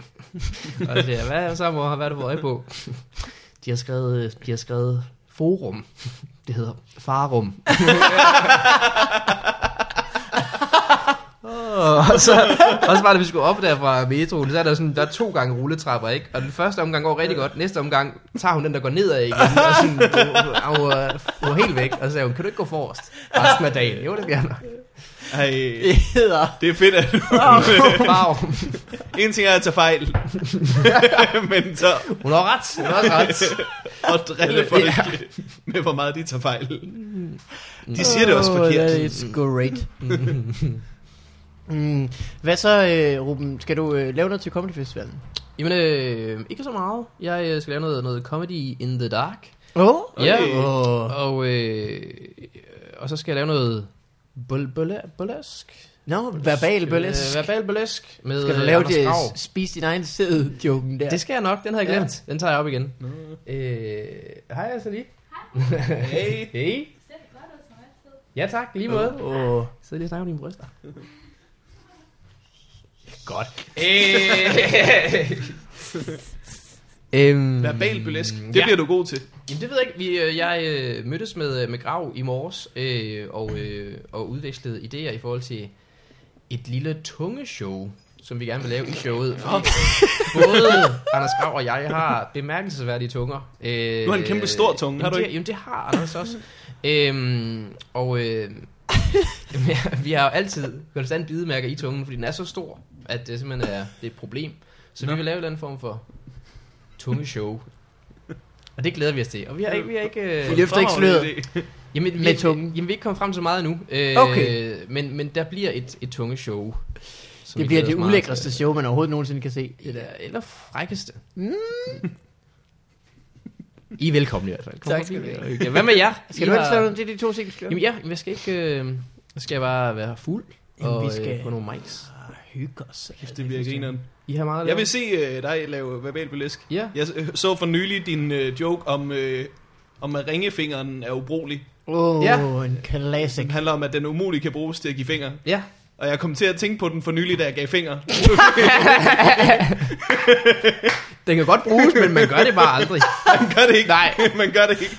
(laughs) og så siger jeg, hvad så mor, hvad er du på øje på? (laughs) de, har skrevet, øh, de har skrevet forum. (laughs) det hedder farum. Åh, og, (laughs) så, og så var det, vi skulle op der fra metroen. Så er der, sådan, der er to gange rulletrapper, ikke? Og den første omgang går rigtig godt. Næste omgang tager hun den, der går nedad igen. Og sådan, hun, hun, hun, hun er helt væk. Og så sagde hun, kan du ikke gå forrest resten af dagen? Jo, det bliver nok.
Ej,
(laughs) Det hedder...
det er fedt, at du...
Wow.
en ting er at tage
(laughs)
fejl. Men så
Hun har ret. Hun har også
(laughs)
ret. (laughs)
at drille folk med, hvor meget de tager fejl. De siger det også
Mm. Åh,
forkert.
That's great. mm. Hvad så, øh, Ruben? Skal du øh, lave noget til Comedy Festivalen?
Jamen, øh, ikke så meget. Jeg øh, skal lave noget, noget comedy in the dark.
Åh? Oh?
Ja,
Okay.
Åh.
og, øh, og så skal jeg lave noget bol- bola- bolask.
Nå, verbal burlesk.
Øh, verbal burlesk. Med,
Skal du
øh,
lave
Anders
det,
Grav.
spis din egen sæd-joken der?
Det skal jeg nok, den havde jeg
Ja.
glemt. Den tager jeg op igen. Øh, hej, altså lige.
Hey.
Hey.
Ser det godt ud som altid?
Ja tak, lige måde.
Åh.
Så lige og snakker om dine
(laughs)
bryster. Godt.
(laughs)
Øh. øhm,
Verbal burlesk. Det
ja.
bliver du god til.
Jamen det ved jeg ikke. Vi, øh, jeg øh, mødtes med, øh, med Grav i morges øh, og, øh, og udvekslede idéer i forhold til et lille tungeshow, som vi gerne vil lave i showet. Fordi både Anders Grav og jeg har bemærkelsesværdige tunger. Øh,
Du har en kæmpe stor tunge, har
jamen,
du
det-
ikke?
Jamen det har Anders også. øhm, og øh, (laughs) vi har jo altid konstant bidemærker i tungen, fordi den er så stor, at det simpelthen er, det er et problem. Så Nå. vi vil lave en eller anden form for tungeshow. Og det glæder vi os til. Og vi har ikke... Vi har ikke
Vi
øh,
løfter ikke
Fremragende
sløret.
idé.
jamen, vi,
med tungen.
Jamen, vi er ikke kommet frem så meget endnu. Øh,
Okay.
Men, men der bliver et, et tungeshow. som
Det
vi
bliver
glæder
det
os meget
ulækreste
til.
show, man overhovedet nogensinde kan se. Det der.
Eller, eller frækkeste. Mm. I er velkomne i hvert fald. Kom
Tak
forbi
skal du have.
og hygge jer. Hvad med jer?
Skal
I
du
har-
helst lave noget? Det er de to ting, vi skal
Jamen ja, jeg skal ikke... Øh, skal jeg bare være fuld
Jamen,
og
vi
vi skal...
skal-
øh, på nogle mics.
Ah, Hygge os.
Kæft, det bliver grineren.
I har meget at
Jeg
lave?
vil se øh, dig lave verbal burlesk.
Ja.
Jeg øh, så for nylig din øh, joke om, øh, om at ringefingeren er ubrugelig.
Åh, oh,
Ja.
en classic.
Den handler om, at den umuligt kan bruges til at give fingre.
Ja.
Og jeg kom til at tænke på den for nylig, da jeg gav fingre.
(laughs) Den kan godt bruges, men man gør det bare aldrig.
Man gør det ikke.
Nej.
(laughs) Man gør det ikke.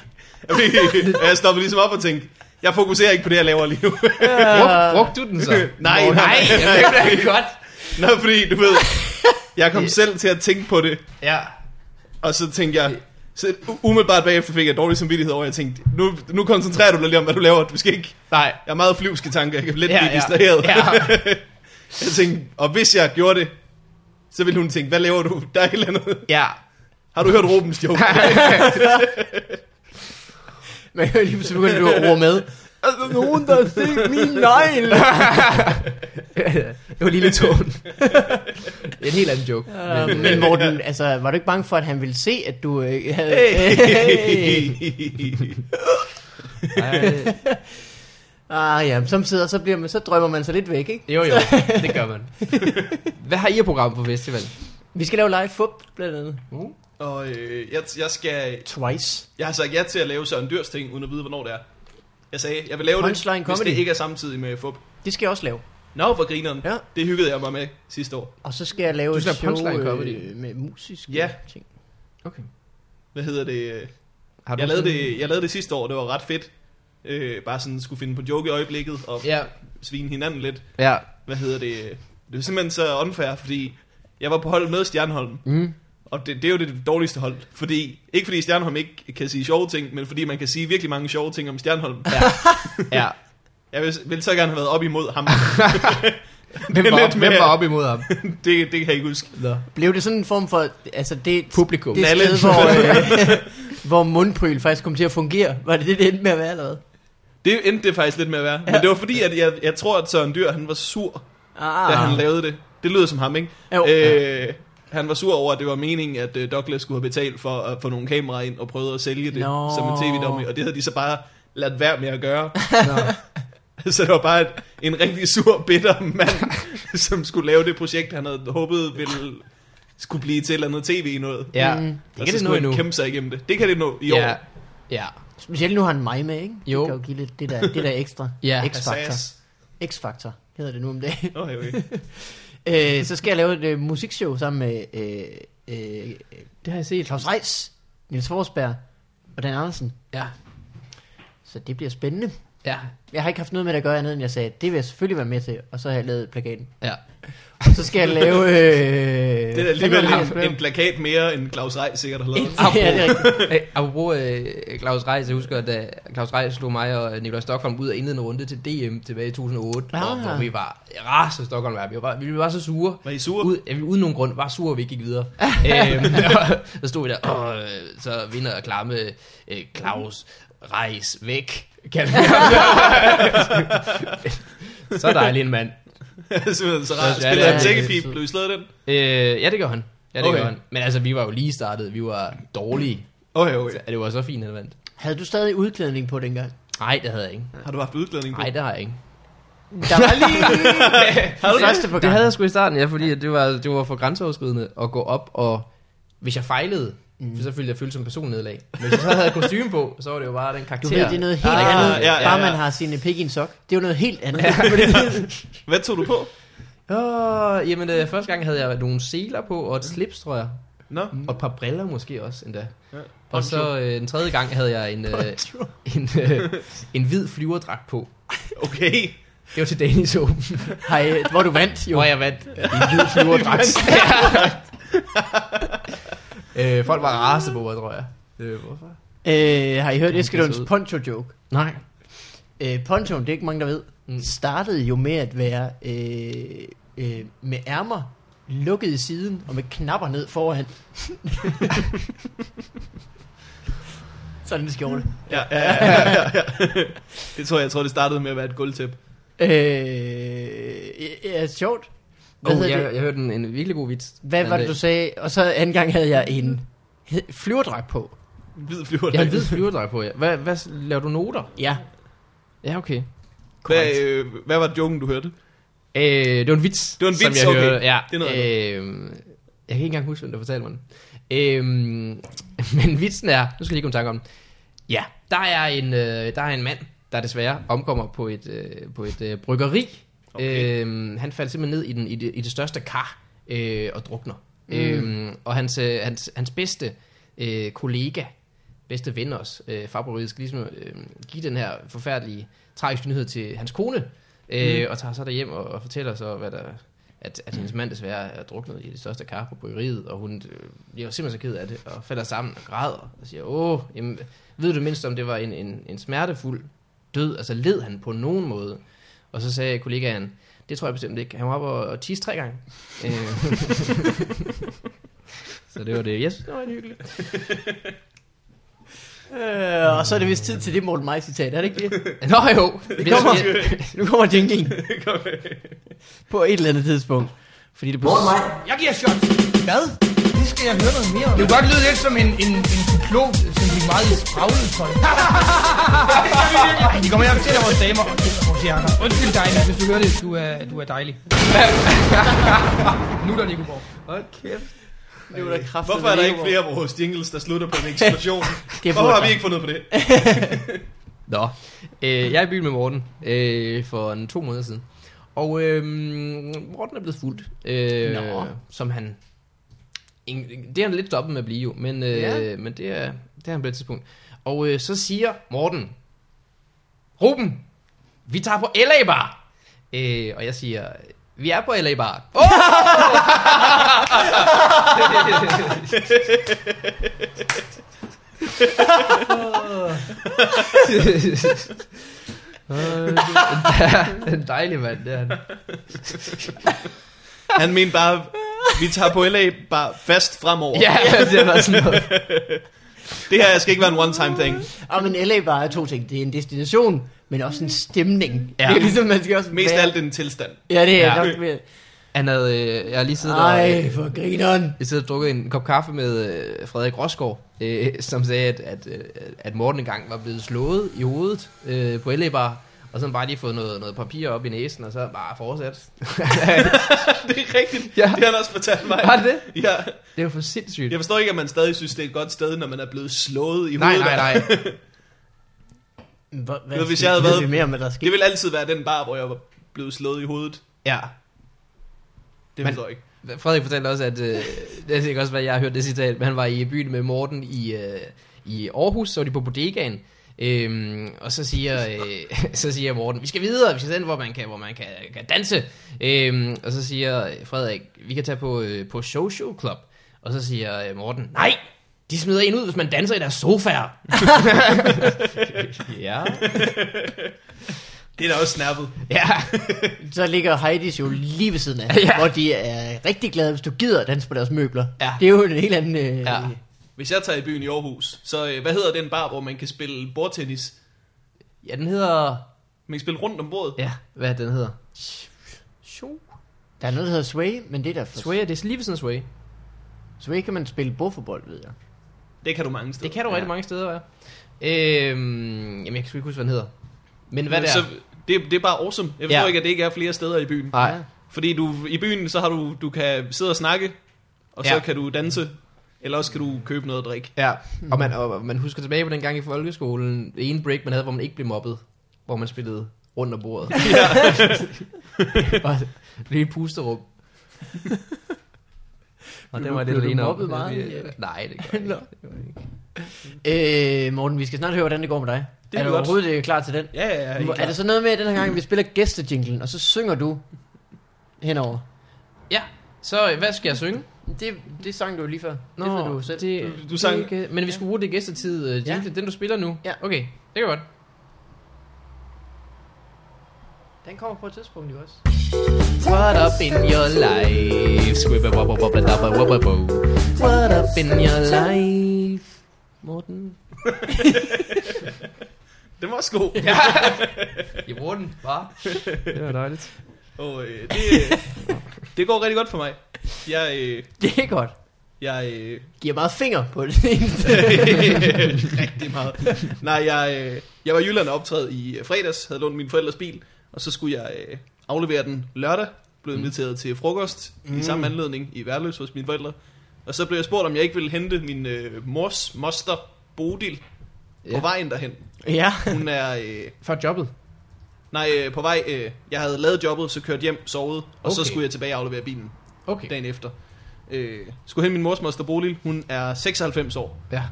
Jeg blev- Jeg stoppede ligesom op og tænkte, jeg fokuserer ikke på det, jeg laver lige nu. (laughs)
Brug, brugte du den så?
Nej,
Nå,
nej.
nej. Jamen, det er da godt.
Nå, fordi du ved, jeg kom selv til at tænke på det.
Ja.
Og så tænkte jeg, så umiddelbart bagefter fik jeg dårlig samvittighed over, at jeg tænkte, nu, nu koncentrerer du dig lige om, hvad du laver. Du skal ikke...
Nej.
Jeg er meget flyvske tanker, jeg kan lidt
Ja,
ja, blive
ja.
distraheret.
Ja.
(laughs) jeg tænkte, og hvis jeg gjorde det, så ville hun tænke, hvad laver du? Der er et eller andet.
(laughs) Ja.
Har du hørt
(laughs)
Rubens joke?
Man hører lige pludselig, begynder du at roe med. Er der nogen, der har set min negl?
Det var lige lidt tål. det er en helt anden joke.
Øh, Men Morten, altså, var du ikke bange for, at han ville se, at du øh, havde... Hey.
Hey.
øh, Ej,
(laughs) ah, ja, som sidder, så, bliver man, så drømmer man sig lidt væk, ikke?
jo jo, det gør man. Hvad har I af program på festival?
Vi skal lave live fup, blandt andet.
Uh,
Og øh, jeg, jeg, skal,
Twice.
jeg har sagt ja til at lave Søren Dyrs ting, uden at vide, hvornår det er. Jeg sagde, jeg vil lave
Punchline
det, hvis
comedy.
det ikke er samtidig med FUP.
Det skal jeg også lave.
Nå, for grineren.
Ja.
Det hyggede jeg mig med sidste år.
Og så skal jeg lave
Du
et
skal
show
have punchline comedy.
øh, med musiske
Ja.
ting.
okay.
Hvad hedder det?
Har
Jeg lavede
sådan-
det, jeg lavede det sidste år, det var ret fedt. Øh, bare sådan skulle finde på joke i øjeblikket og
Ja,
svine hinanden lidt.
ja.
Hvad hedder det? Det er simpelthen så unfair, fordi jeg var på hold med Stjernholm.
Mm.
Og det, det er jo det dårligste hold. Fordi, ikke fordi Stjernholm ikke kan sige sjove ting, men fordi man kan sige virkelig mange sjove ting om Stjernholm.
Ja. ja.
Jeg vil, vil så gerne have været op imod
(laughs)
ham.
Hvem,
Det er
var,
lidt
op, (laughs) hvem
mere-
var op imod ham?
det, det kan jeg ikke huske.
Nå.
Blev det sådan en form for... Altså, det,
Publikum.
det er et
Nalle.
sted, hvor, (laughs) øh, hvor mundpryl faktisk kom til at fungere. Var det det, det endte med at være, eller hvad?
Det endte det faktisk lidt med at være. Ja. Men det var fordi, at jeg, jeg tror, at Søren Dyr, han var sur,
Ah,
da han lavede det. Det lyder som ham, ikke?
Jo.
Øh, han var sur over, at det var meningen, at øh, Douglas skulle have betalt for at få nogle kameraer ind og prøvede at sælge det
Nå.
som en tv-dummy. Og det havde de så bare ladt være med at gøre. (laughs)
Nå.
Så det var bare et, en rigtig sur, bitter mand, (laughs) som skulle lave det projekt, han havde håbet ville skulle blive til et eller andet tv i noget.
Ja.
Mm.
Det
og
kan
så
det nå
skulle
endnu.
han kæmpe sig igennem det. Det kan det nå i
Ja.
år.
Ja.
Specielt nu har han mig med, ikke?
Jo.
Det kan jo give lidt det der, det der ekstra.
(laughs) Ja.
X-faktor.
Assas.
X-faktor hedder det nu om dagen. (laughs)
Okay,
(laughs)
okay.
Øh, så skal jeg lave et øh, musikshow sammen med øh, øh,
Det har jeg set.
Claus Reis, Niels Forsberg og Dan Andersen.
Ja.
Så det bliver spændende.
Ja.
Jeg har ikke haft noget med det at gøre andet, end jeg sagde, det vil jeg selvfølgelig være med til. Og så har jeg lavet plakaten.
Ja.
Og så skal jeg lave... Øh,
(laughs) Det er alligevel
fem-
en, en plakat mere, end Claus Rej sikkert har
(laughs)
lavet.
(laughs)
(laughs)
ja, det er rigtigt.
Øh, Apropos øh, Claus Reis, jeg husker, at da Claus Reis slog mig og Nikolaj Stockholm ud af indledende runde til DM tilbage i 2008,
Ah.
hvor, hvor vi var rasende Stockholm, var. vi var, vi var så sure.
Var I sure?
Ud, ja, vi- uden nogen grund, var sure, at vi ikke gik
(laughs)
videre. øhm, (laughs) og så stod vi der, og øh, så vinder og klamme øh, Claus Reis væk. (laughs) Kan så dejlig en mand.
Simpelthen så
Ja,
rart.
det er-
Spiller han
det er-
tækkepip? Blev I slået af den?
Øh, ja, det gør han. Ja, det okay.
Okay.
gør han. Men altså, vi var jo lige startet, vi var dårlige.
Okay, okay.
Så det var så fint, han vandt.
Havde du stadig udklædning på dengang?
Nej, det havde jeg ikke.
Har du haft udklædning på?
Nej, det har jeg ikke.
(laughs) Der var
(laughs)
lige...
(laughs)
første på
Det
gang.
havde jeg sgu i starten, ja, fordi det var, det var for grænseoverskridende at gå op, og hvis jeg fejlede, mm. så følte jeg følt som personnedlag. Men hvis jeg så havde kostume på, så var det jo bare den
Du
karakter.
ved, det er noget helt
Ah,
andet,
ja, ja, ja.
bare man har sine pik i en sok. Det er jo noget helt andet. (laughs)
(laughs)
Hvad tog du på?
Åh, jamen, øh, første gang havde jeg nogle seler på, og et slips, tror jeg.
Nå,
Mm.
Og et par briller måske også endda.
Ja.
Ja. Og så øh, den tredje gang havde jeg en, øh, en, øh, en hvid flyverdragt på.
okay.
Det var til Danish Open,
Hej, hvor du vandt, jo.
hvor jeg vandt en hvid (laughs) flyverdragt. (laughs) øh, folk var raset på mig, tror jeg. Øh, hvorfor?
Øh, har I hørt
Det er
Eskelunds
så ud.
poncho-joke?
Nej.
Øh, ponchoen, det er ikke mange, der ved, mm.
Mm.
startede jo med at være øh, øh, med ærmer lukket i siden og med knapper ned
(laughs)
foran. (laughs) Sådan en skjorte.
Ja, ja, ja, ja, ja, ja. (laughs) Det tror jeg, jeg tror, det startede med at være et guldtæppe.
Øh, ja, ja, sjovt. Hvad,
Hvad
oh,
oh,
hedder
jeg,
det?
jeg hørte en, en virkelig god vits.
Hvad
Den,
var det,
øh,
du sagde? Og så anden gang havde jeg en he- flyverdragt på.
Hvid flyver.
Jeg har en hvid flyverdrag på, ja. Hvad, hvad s- laver du noter?
Ja,
Ja, okay.
Hvad, øh, hvad var joken, du hørte?
Øh, det var en vits,
Det var en
som
vits,
jeg
okay.
hørte. Ja,
Det er noget
øh, jeg kan ikke engang huske, hvem der fortalte mig den. Øh, (laughs) men vitsen er, nu skal jeg lige komme i tanke om den. Ja, der er en, øh, der er en mand, der desværre omkommer på et, øh, på et øh, bryggeri.
Okay.
Okay. Øhm, han faldt simpelthen ned i, den, i, det, i det største kar øh, og drukner. Mm. Øhm, og hans, øh, hans, hans bedste øh, kollega, bedste ven også, øh, Fabrice, skal ligesom øh, give den her forfærdelige, tragiske nyhed til hans kone, øh, mm. og tager så derhjem og, og fortæller så, hvad der, at, at hendes mand desværre er druknet i det største kar på bryggeriet, og hun øh, bliver simpelthen så ked af det, og falder sammen og græder, og siger, åh, jamen, ved du mindst, om det var en, en, en smertefuld død, altså led han på nogen måde? Og så sagde kollegaen, det tror jeg bestemt ikke. Han var oppe og, og tisse tre gange. Øh. så det var det. Jeg synes, det var en hyggelig.
Øh, og så er det vist tid til det Morten Maj-citat, er det (laughs) ikke det?
Nå jo.
Det kommer,
jeg,
nu kommer jinglen på et eller andet tidspunkt. Fordi det
Morten Maj,
Jeg giver shot. Hvad? Det skal jeg høre noget mere om. Det kunne godt lyde lidt som en, en, en cyklop, som gik meget i spraglet tøj.
(laughs)
Ej, de kommer hjem til dig, vores damer og kæmper vores hjerner. Undskyld dig, men hvis du hører det, du er, du er
(laughs)
dejlig. nu er der Nicoborg.
Hold kæft. Det var da kraftigt.
Hvorfor er der ikke flere af vores jingles, der slutter på en eksplosion?
(laughs)
Det
Hvorfor
burde
har vi
der.
ikke fundet på det?
Nå, øh, jeg er i byen med Morten øh, for en to måneder siden. Og øh,
øhm,
Morten er blevet fuldt, øh,
Nå.
som han... ing- Det er han lidt stoppet med at blive jo, men, øh,
Ja.
ja. men det, er, det er han på et tidspunkt. Og øh, så siger Morten, Ruben, vi tager på LA Bar. Øh, og jeg siger, vi er på LA Bar. (laughs) Åh! (laughs) Oh. en dejlig mand, det er han.
Han mente bare, vi tager på LA bare fast fremover.
Ja, det var sådan noget.
Det her skal ikke være en one-time thing.
Og men LA bare er to ting. Det er en destination, men også en stemning.
Ja.
Det er ligesom, man skal også
Mest
være...
af alt en tilstand. (laughs)
Ja, det er
Ja.
ja. nok mere.
Han havde, øh, jeg har lige siddet og... øh,
Ej, for grineren.
Jeg sad og drukket en kop kaffe med øh, Frederik Rosgaard, øh, som sagde, at, at, øh, at Morten engang var blevet slået i hovedet øh, på Ellebar, og så havde han bare lige fået noget, noget papir op i næsen, og så bare fortsat. (laughs)
Det er rigtigt.
Ja.
Ja. Det har han også fortalt mig.
Var det det?
Ja.
Det er jo for sindssygt.
Jeg forstår ikke, at man stadig synes, det er et godt sted, når man er blevet slået i
nej,
hovedet.
nej, nej.
Hvad, hvad
Ved, hvis
skal-
jeg havde
ved
været-
vi mere, hvad der sker?
Det vil altid være den bar, hvor jeg var blevet slået i hovedet.
Ja.
Det
Men-
forstår jeg ikke.
Frederik fortalte også, at øh, det er sikkert også, hvad jeg har hørt det citat, men han var i byen med Morten i, øh, i Aarhus, så var de på bodegaen, øhm, og så siger, øh, (laughs) så siger Morten, vi skal videre, vi skal sende, hvor man kan, hvor man kan, kan danse, øhm, og så siger Frederik, vi kan tage på, øh, på social club, og så siger øh, Morten, nej, de smider en ud, hvis man danser i deres (laughs) sofaer. ja.
Det er da også snappet.
ja.
Så ligger Heidi's jo lige ved siden af,
Ja.
(laughs) ja. hvor de er rigtig glade, hvis du gider at danse på deres møbler.
Ja.
Det er jo en helt anden... Øh,
Ja.
ja.
Hvis jeg tager i byen i Aarhus, så øh, hvad hedder den bar, hvor man kan spille bordtennis?
ja, den hedder,
Man kan spille rundt om bordet.
ja, hvad er den hedder? Show.
Der er noget, der hedder Sway, men det er der for...
Sway, det er lige ved siden af Sway.
Sway kan man spille bordforbold, ved jeg.
Det kan du mange steder.
Det kan du
ja.
ja. rigtig mange steder, ja. Øhm, jamen, jeg kan sgu ikke huske, hvad den hedder. Men hvad det er...
Så det, det er bare awesome. Jeg forstår
Ja.
ja. ikke, at det ikke er flere steder i byen.
Nej.
Fordi du, i byen, så har du, du kan sidde og snakke, og
Ja.
så kan du danse, eller også kan du købe noget at drikke.
Ja, og man, og man husker tilbage på den gang i folkeskolen, det ene break, man havde, hvor man ikke blev mobbet, hvor man spillede rundt om
(laughs)
bordet. Ja. (laughs) Bare lige et pusterum. Og
Blev
det
du-
var det,
blev du
alene om.
mobbet meget i-
Øh, Nej, det gør jeg
Nå.
ikke. Det gør jeg ikke.
Øh, Morten, vi skal snart høre, hvordan det går med dig.
Det
er
er
du
godt.
overhovedet øh, klar til den?
Ja, ja, ja. helt
Hvor- Er
klart.
det så noget med, at den her gang, vi spiller gæstejinglen, og så synger du henover?
Ja, så øh, hvad skal jeg synge?
Det, det sang du lige før. Nå, det ved du selv.
det,
Du- du sang-
det er ikke- men vi skulle bruge det gæstetid, øh,
Ja.
jingle, den du spiller nu.
Ja.
Okay, det kan godt.
Den kommer på et tidspunkt, jo også.
What up in your life? Squibba wubba wubba dabba wubba boo. What up in your life? Morten.
Den var også god.
I Morten, hva'? Det var dejligt.
Og øh, det, øh, det går rigtig godt for mig. Jeg, øh,
(laughs) Det er godt.
jeg, øh,
Giver meget finger på det.
(laughs)
rigtig meget. Nej, jeg, øh, jeg var i Jylland og optræde i øh, fredags, havde lånt min forældres bil, og så skulle jeg øh, aflevere den lørdag,
Mm.
blev inviteret til frokost mm. i samme anledning i Værløs hos mine forældre. Og så blev jeg spurgt, om jeg ikke ville hente min øh, mors moster Bodil på
Ja.
vejen derhen.
(laughs) ja.
Hun er... Øh,
For jobbet.
nej, øh, på vej... Øh, jeg havde lavet jobbet, så kørt hjem, sovet, og okay. så
Okay.
skulle jeg tilbage og aflevere bilen
Okay.
dagen efter. Øh, skulle hen min mors moster Bodil, hun er 96 år.
Ja.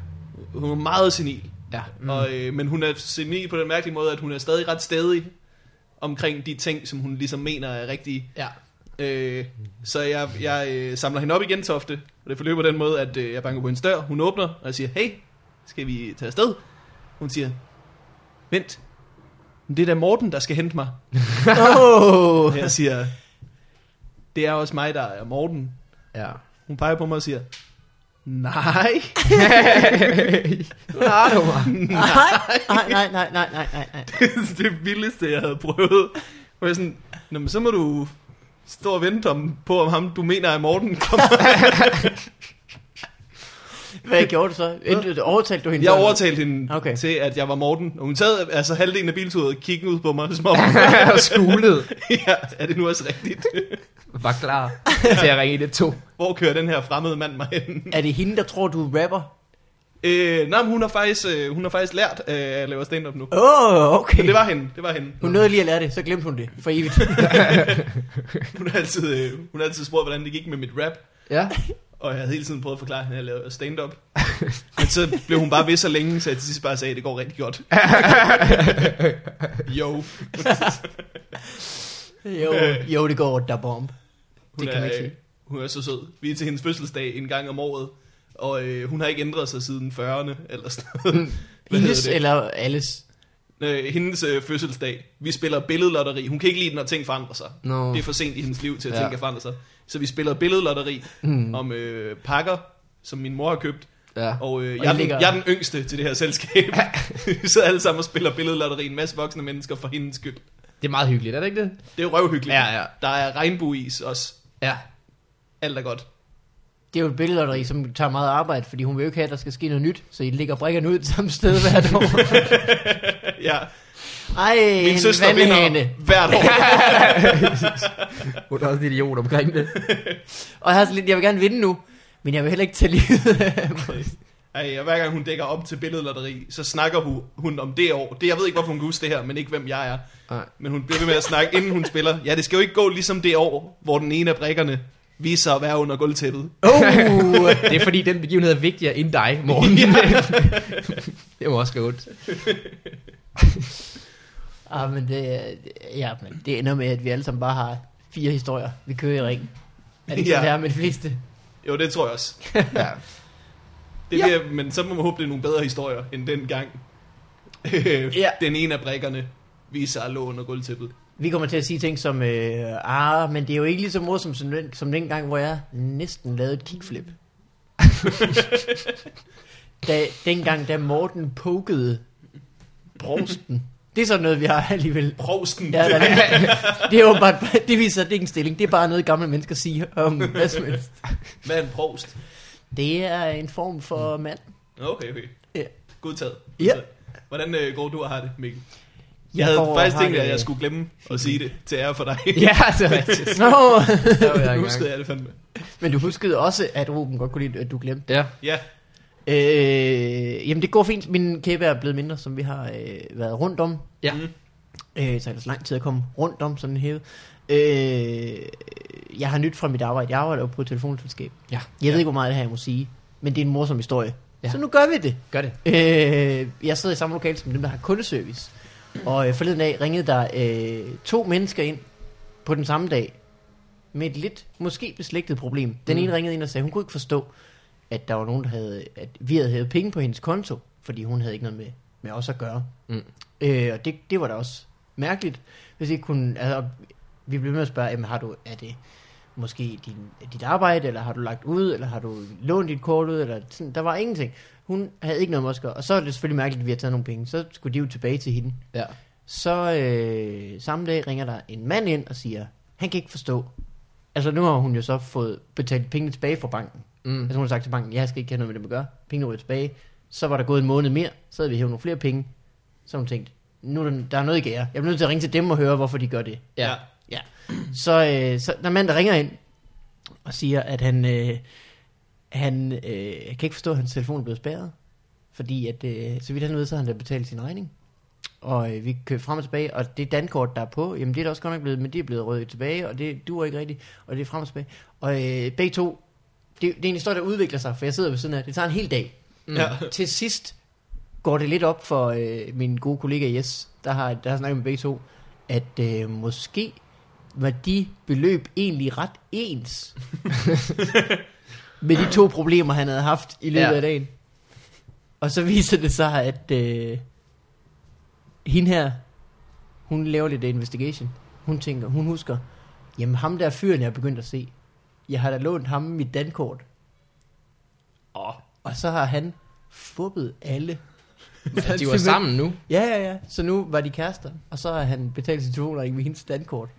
Hun er meget senil.
Ja.
Mm. Og, øh, men hun er senil på den mærkelige måde, at hun er stadig ret stedig omkring de ting, som hun ligesom mener er rigtige.
Ja.
Øh, så jeg, jeg øh, samler hende op igen Tofte, og det forløber den måde, at øh, jeg banker på hendes dør. Hun åbner, og jeg siger, hey, skal vi tage afsted? Hun siger, vent, men det er da Morten, der skal hente mig.
Oh. (laughs)
Og jeg siger, det er også mig, der er Morten.
Ja.
Hun peger på mig og siger, Nej.
Nej, du mig.
Nej, nej, nej, nej, nej, nej, nej, nej.
(laughs) det vildeste, jeg havde prøvet. Hvor jeg sådan, Nå, men så må du stå og vente om, på, om ham, du mener er Morten, kommer.
Hvad gjorde du så? Endte, overtalte du hende?
Jeg
så?
overtalte hende okay.
Okay.
til, at jeg var Morten. Og hun sad altså halvdelen af bilturet og kiggede ud på mig,
(laughs)
som om,
(laughs) Og skulet.
(laughs) ja, er det nu også rigtigt?
Var klar til at ringe i det to.
Hvor kører den her fremmede mand mig hen?
Er det hende, der tror, du er rapper?
Øh, nej, men hun har faktisk, øh, hun har faktisk lært, øh, at jeg laver stand-up nu.
Åh, oh, okay.
Men det var hende, det var hende.
Hun nåede lige at lære det, så glemte hun det for evigt.
Hun har altid, øh, hun har altid spurgt, hvordan det gik med mit rap.
Ja.
Og jeg havde hele tiden prøvet at forklare, at jeg lavede stand-up. (laughs) Men så blev hun bare ved så længe, så jeg til sidst bare sagde, at det går rigtig godt. jo.
(laughs) (laughs) Jo, jo det går der bomb.
Hun
Det kan man
er,
ikke
øh,
sige.
hun er så sød. Vi er til hendes fødselsdag en gang om året, og øh, hun har ikke ændret sig siden 40'erne eller sådan noget. (laughs)
Hm.
Hvad
Hendes
hedder det?
eller alles.
Øh, hendes øh, fødselsdag. Vi spiller billedlotteri. Hun kan ikke lide, når ting forandrer sig.
(laughs) Nå.
Det er for sent i hendes liv til, at
Ja.
ja. ting kan forandre sig. Så vi spiller billedlotteri
Hm.
mm. om øh, pakker, som min mor har købt.
Ja.
Og, øh,
Og
jeg, er
I
den,
ligger-
jeg er den yngste til det her selskab. vi sidder alle sammen og spiller billedlotteri. En masse voksne mennesker for hendes skyld.
Det er meget hyggeligt, er det ikke det?
Det er jo røvhyggeligt.
Ja, ja.
Der er regnbueis også.
Ja.
Alt er godt.
Det er jo et billedlotteri, som tager meget arbejde, fordi hun vil jo ikke have, at der skal ske noget nyt, så I ligger brikkerne ud (laughs) samme sted hvert (laughs) år.
ja.
Ej,
Min
en
søster
vandhane.
vinder hvert
(laughs)
år.
(laughs) Hun er også en idiot omkring det.
Og jeg, har sådan lidt, jeg vil gerne vinde nu, men jeg vil heller ikke tage livet (laughs) af mig.
Ej, og hver gang hun dækker op til billedlotteri, så snakker hun, hun om det år. Det, jeg ved ikke, hvorfor hun kan huske det her, men ikke hvem jeg er.
Nej.
Men hun bliver ved med at snakke, inden hun spiller. Ja, det skal jo ikke gå ligesom det år, hvor den ene af brikkerne viser sig at være under gulvtæppet.
Oh,
(laughs) Det er fordi, den begivenhed er vigtigere end dig, Morten. (laughs) det må også gøre ondt.
ah, men det, er- ja, men det ender med, at vi alle sammen bare har fire historier, vi kører i ring. Er det ikke
Ja.
sådan, det er med de fleste?
Jo, det tror jeg også.
Ja.
Det
Ja.
ja. bliver, men så må man håbe, det er nogle bedre historier, end den gang. (laughs) ja.
Ja.
Den ene af brikkerne viser sig at lå under gulvtæppet.
Vi kommer til at sige ting som, øh, ah, men det er jo ikke lige så morsomt som den, som den gang, hvor jeg næsten lavede et
(laughs)
kickflip. da, dengang, da Morten pokede brosten. Det er sådan noget, vi har alligevel.
Provsten.
Ja, der,
(laughs)
er- det er jo bare, det viser, at det ikke er en stilling. Det er bare noget, gamle mennesker siger om hvad som helst.
(laughs) Hvad er en provst?
Det er en form for mand.
Okay, okay.
Ja.
Godtaget.
Ja.
Godtaget. Hvordan øh, går du og har det, Mikkel? Jeg havde
går og
faktisk
har
tænkt,
det-
at jeg skulle glemme at sige det til ære for dig.
Ja, det er rigtigt.
Nå,
Der
(laughs)
var jeg
nu
i
huskede
gang.
jeg det fandme.
men du huskede også, at Ruben godt kunne lide, at du glemte.
Ja.
Ja,
Øh, jamen det går fint. Min kæbe er blevet mindre, som vi har øh, været rundt om.
Ja.
Mm. Øh, så ellers lang tid at komme rundt om sådan en hæve. Øh, jeg har nyt fra mit arbejde. Jeg arbejder jo på et telefonselskab.
Ja.
Jeg ved ikke, hvor meget det her jeg må sige, men det er en morsom historie.
Ja.
Ja. Så nu gør vi det.
Gør det.
Øh, jeg sidder i samme lokale som dem, der har kundeservice. Og øh, forleden dag ringede der øh, to mennesker ind på den samme dag med et lidt måske beslægtet problem. Den ene ringede ind og sagde, hun kunne ikke forstå, at der var nogen, der havde, at vi havde hævet penge på hendes konto, fordi hun havde ikke noget med, med os at gøre.
Mm.
Øh, og det, det var da også mærkeligt, hvis ikke hun, altså, vi blev med at spørge, jamen, har du, er det måske din, dit arbejde, eller har du lagt ud, eller har du lånt dit kort ud, eller sådan, der var ingenting. Hun havde ikke noget med os at gøre, og så er det selvfølgelig mærkeligt, at vi har taget nogle penge, så skulle de jo tilbage til hende.
Ja.
Så øh, samme dag ringer der en mand ind og siger, han kan ikke forstå. Altså nu har hun jo så fået betalt pengene tilbage fra banken. Mm. Altså hun har sagt til banken, jeg skal ikke have noget med det at gøre. Pengene ryger tilbage. Så var der gået en måned mere, så havde vi hævet nogle flere penge. Så har hun tænkt, nu er der, der er noget i gære. Jeg bliver nødt til at ringe til dem og høre, hvorfor de gør det.
Ja.
ja.
Ja. Så, øh, så der er en mand, der ringer ind og siger, at han, øh, han øh, kan ikke forstå, at hans telefon er blevet spærret. Fordi at, øh, så vidt han ved, så har han da betalt sin regning. Og øh, vi kører frem og tilbage, og det dankort, der er på, jamen det er da også godt nok blevet, men det er blevet rødt tilbage, og det duer ikke rigtigt, og det er frem og tilbage. Og øh, begge to, det, det er en historie, der udvikler sig, for jeg sidder ved siden af, det tager en hel dag.
Mm. ja.
(laughs) Til sidst går det lidt op for øh, min gode kollega Jes, der har, der har snakket med begge to, at øh, måske var de beløb egentlig ret ens med de to problemer, han havde haft i løbet
Ja.
ja. af dagen. Og så viser det sig, at øh, hende her, hun laver lidt investigation. Hun tænker, hun husker, jamen ham der fyren, jeg er begyndt at se, jeg har da lånt ham mit dankort.
Åh,
Og så har han fubbet alle.
At Altså, de var sammen nu.
Ja, ja, ja. Så nu var de kærester, og så har han betalt sit 200 ikke med hendes standkort.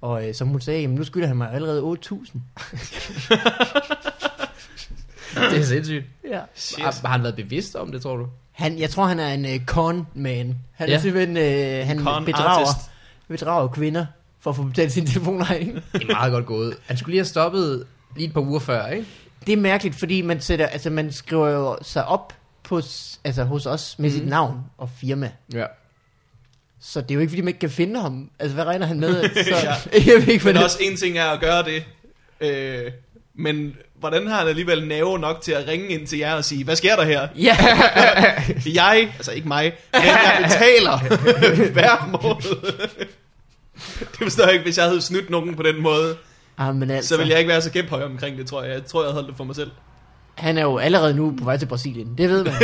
Og øh, som hun sagde, jamen, nu skylder han mig allerede 8.000.
Det er sindssygt.
Ja.
shit.
Har, har han været bevidst om det, tror du?
Han, jeg tror, han er en øh, con-man. Han ja. er
Ja.
simpelthen, øh, han
Con
bedrager,
artist.
bedrager kvinder for at få betalt sin telefonregning.
(laughs)
Det er meget godt gået. Han skulle lige have stoppet lige et par uger før, ikke?
Det er mærkeligt, fordi man, sætter, altså, man skriver jo sig op på, s- altså, hos os med mm. sit
Mhm.
navn og firma.
Ja.
Så det er jo ikke, fordi man ikke kan finde ham. Altså, hvad regner han
(laughs)
med? Så,
Ja.
(laughs) Jeg ved ikke, hvad
Men
det
også en ting er at gøre det. Øh, men hvordan har han alligevel nerve nok til at ringe ind til jer og sige, hvad sker der her?
(laughs)
Ja,
Jeg, altså ikke mig, men jeg betaler hver måned. det forstår jeg ikke, hvis jeg havde snydt nogen på den måde.
ah, men altså,
Så ville jeg ikke være så kæphøj omkring det, tror jeg. Jeg tror, jeg holdt det for mig selv.
han er jo allerede nu på vej til Brasilien. Det ved man.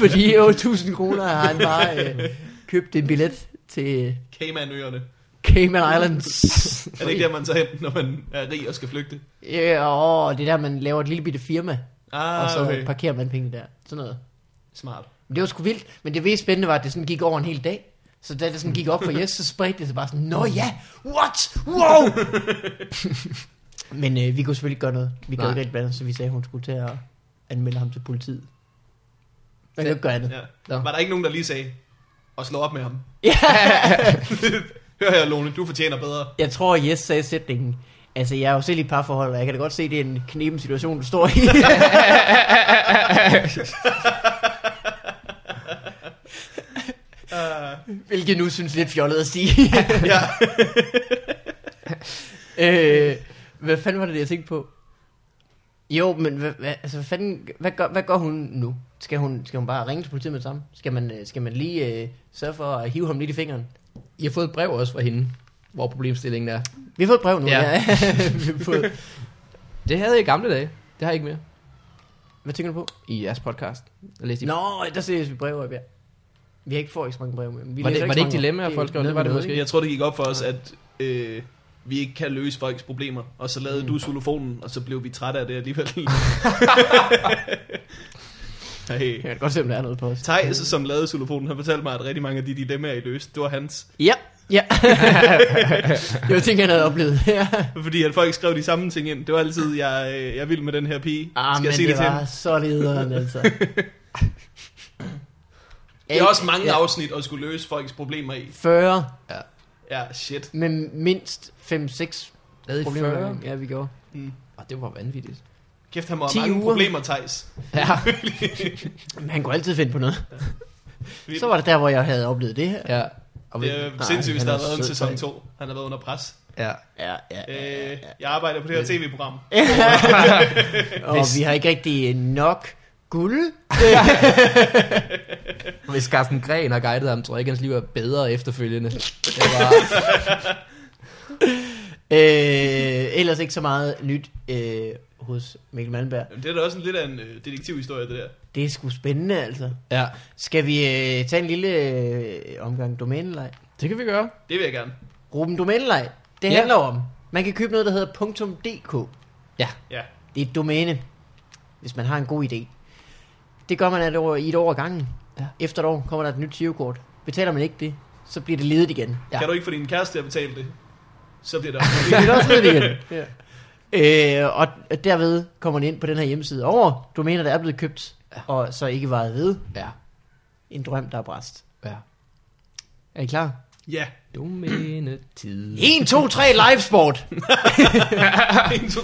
fordi 8.000 kroner har han bare øh, købt en billet til øh,
Caymanøerne.
Cayman Islands.
Er det ikke der, man tager hen, når man er rig og skal flygte?
Ja, og det er der, man laver et lille bitte firma,
Ah,
og så
okay.
parkerer man penge der. Sådan noget.
Smart.
Men det var sgu vildt, men det mest spændende var, at det sådan gik over en hel dag. Så da det sådan gik op for Jes, så spredte det sig bare sådan, Nå ja, what? Wow! men øh, vi kunne selvfølgelig ikke gøre noget. Vi
Nej.
gad ikke rigtig blande os, så vi sagde, at hun skulle til at anmelde ham til politiet. Man kan jo ikke gøre andet.
Ja.
Nå.
Var der ikke nogen, der lige sagde, og slå op
(laughs)
med ham? (laughs)
Ja.
Hør her, Lone, du fortjener
(laughs)
bedre.
Jeg tror, at Jes sagde sætningen, altså jeg er jo selv i et parforhold, og jeg kan da godt se, at det er en knepen situation, du står
(laughs)
i.
Uh,
Hvilket nu synes lidt fjollet at
(laughs)
sige.
ja.
øh, hvad fanden var det, jeg tænkte på? Jo, men hvad, hvad, altså, hvad, fanden, hvad, gør, hvad gør hun nu? Skal hun, skal hun bare ringe til politiet med det samme? Skal man, øh, skal man lige øh, sørge for at hive ham lidt i fingeren?
I har fået et brev også fra hende, hvor problemstillingen er.
Vi har fået et brev nu.
Ja. (laughs)
Vi har fået,
Det havde jeg i gamle dage. Det har jeg ikke mere
hvad tænker du på?
i jeres podcast. Jeg læste i-
Nå, der ses vi brev op, ja. Vi har ikke fået ikke så mange brev. Men vi
Var det-
læser
var det
så
ikke
mange
dilemmaer,
brev.
folk skrev? Det var det
noget,
måske.
ikke?
Jeg tror, det gik op for os, at øh, vi ikke kan løse folks problemer. Og så
Mm.
lavede du solofonen, og så blev vi trætte af det
(laughs)
alligevel. hey.
Jeg kan godt se, om der er noget på os.
Thijs, som lavede solofonen, han fortalte mig, at rigtig mange af de dilemmaer, I løste, det var hans.
Ja, ja. det var ting, han havde oplevet. Ja.
Fordi at folk skrev de samme ting ind. Det var altid, jeg, øh, jeg er vild med den her pige.
Ah,
Skal
men
jeg sige det,
det,
til
var
hende?
så lederen, altså.
Det er også mange
Ja.
afsnit at skulle løse folks problemer i.
40,
Ja, shit.
men mindst 5-6
Lavede i
problemer.
40.
Ja, vi gjorde.
Mm.
Og det var vanvittigt.
Kæft, han må
10
have mange
uger.
problemer, Thijs.
(laughs) Ja.
Men han kunne altid finde på noget.
Vildt.
Så var det der, hvor jeg havde oplevet det her.
ja. Og vi,
Det er
Nej,
sindssygt, hvis
han
der
er
har været en
sød,
sæson
Thijs.
2. Han har været under pres.
ja.
Ja, ja, ja.
(laughs) Øh, jeg arbejder på det her tv-program.
Og vi har ikke rigtig øh, nok guld.
Hvis Carsten Gren har guidet ham, tror jeg ikke, hans liv er bedre efterfølgende. Det (laughs) var,
Øh, ellers ikke så meget nyt øh, hos Mikkel Malmberg.
Jamen, det er da også en lidt af en øh, detektivhistorie, det der.
Det er sgu spændende, altså.
ja,
Skal vi øh, tage en lille øh, omgang domæneleg?
det kan vi gøre.
Det vil jeg gerne.
Ruben Domæneleg, det
Ja.
handler om, man kan købe noget, der hedder .dk.
Ja.
Ja.
Det er et domæne, hvis man har en god idé. Det gør man et år, i et år ad gangen. Ja. Efter et år kommer der et nyt girokort. Betaler man ikke det, så bliver det ledet igen.
Ja.
ja. Kan du ikke få din kæreste til at betale det, så bliver det
(laughs)
Det
også
bliver også ledet igen. Ja. Øh, og derved kommer man ind på den her hjemmeside over domæner, der er blevet købt, ja. og så ikke varet ved.
Ja.
En drøm, der er bræst.
Ja.
Er I klar?
Ja. (laughs)
Domæne tid.
1, 2, 3, livesport!
1, 2,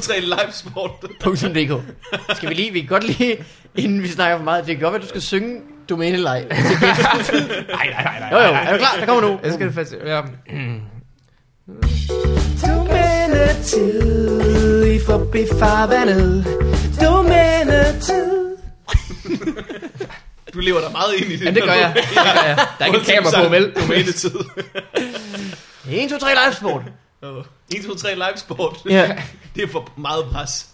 3, live sport.
.dk Skal vi lige, vi kan godt lige, inden vi snakker for meget, det kan godt være, du skal synge domæneleg.
Nej, nej, nej, nej.
Jo jo, er du klar? Der kommer nu.
Jeg skal det fast. Ja.
Domænetid i forbi farvandet. Domænetid.
Du lever dig meget ind i det.
Jamen, det gør (laughs) jeg. Det gør jeg. Der er ikke et kamera på, vel?
Domænetid.
1, 2, 3, livesport!
1, 2, 3, live sport.
Ja.
(laughs) Det er for meget pres.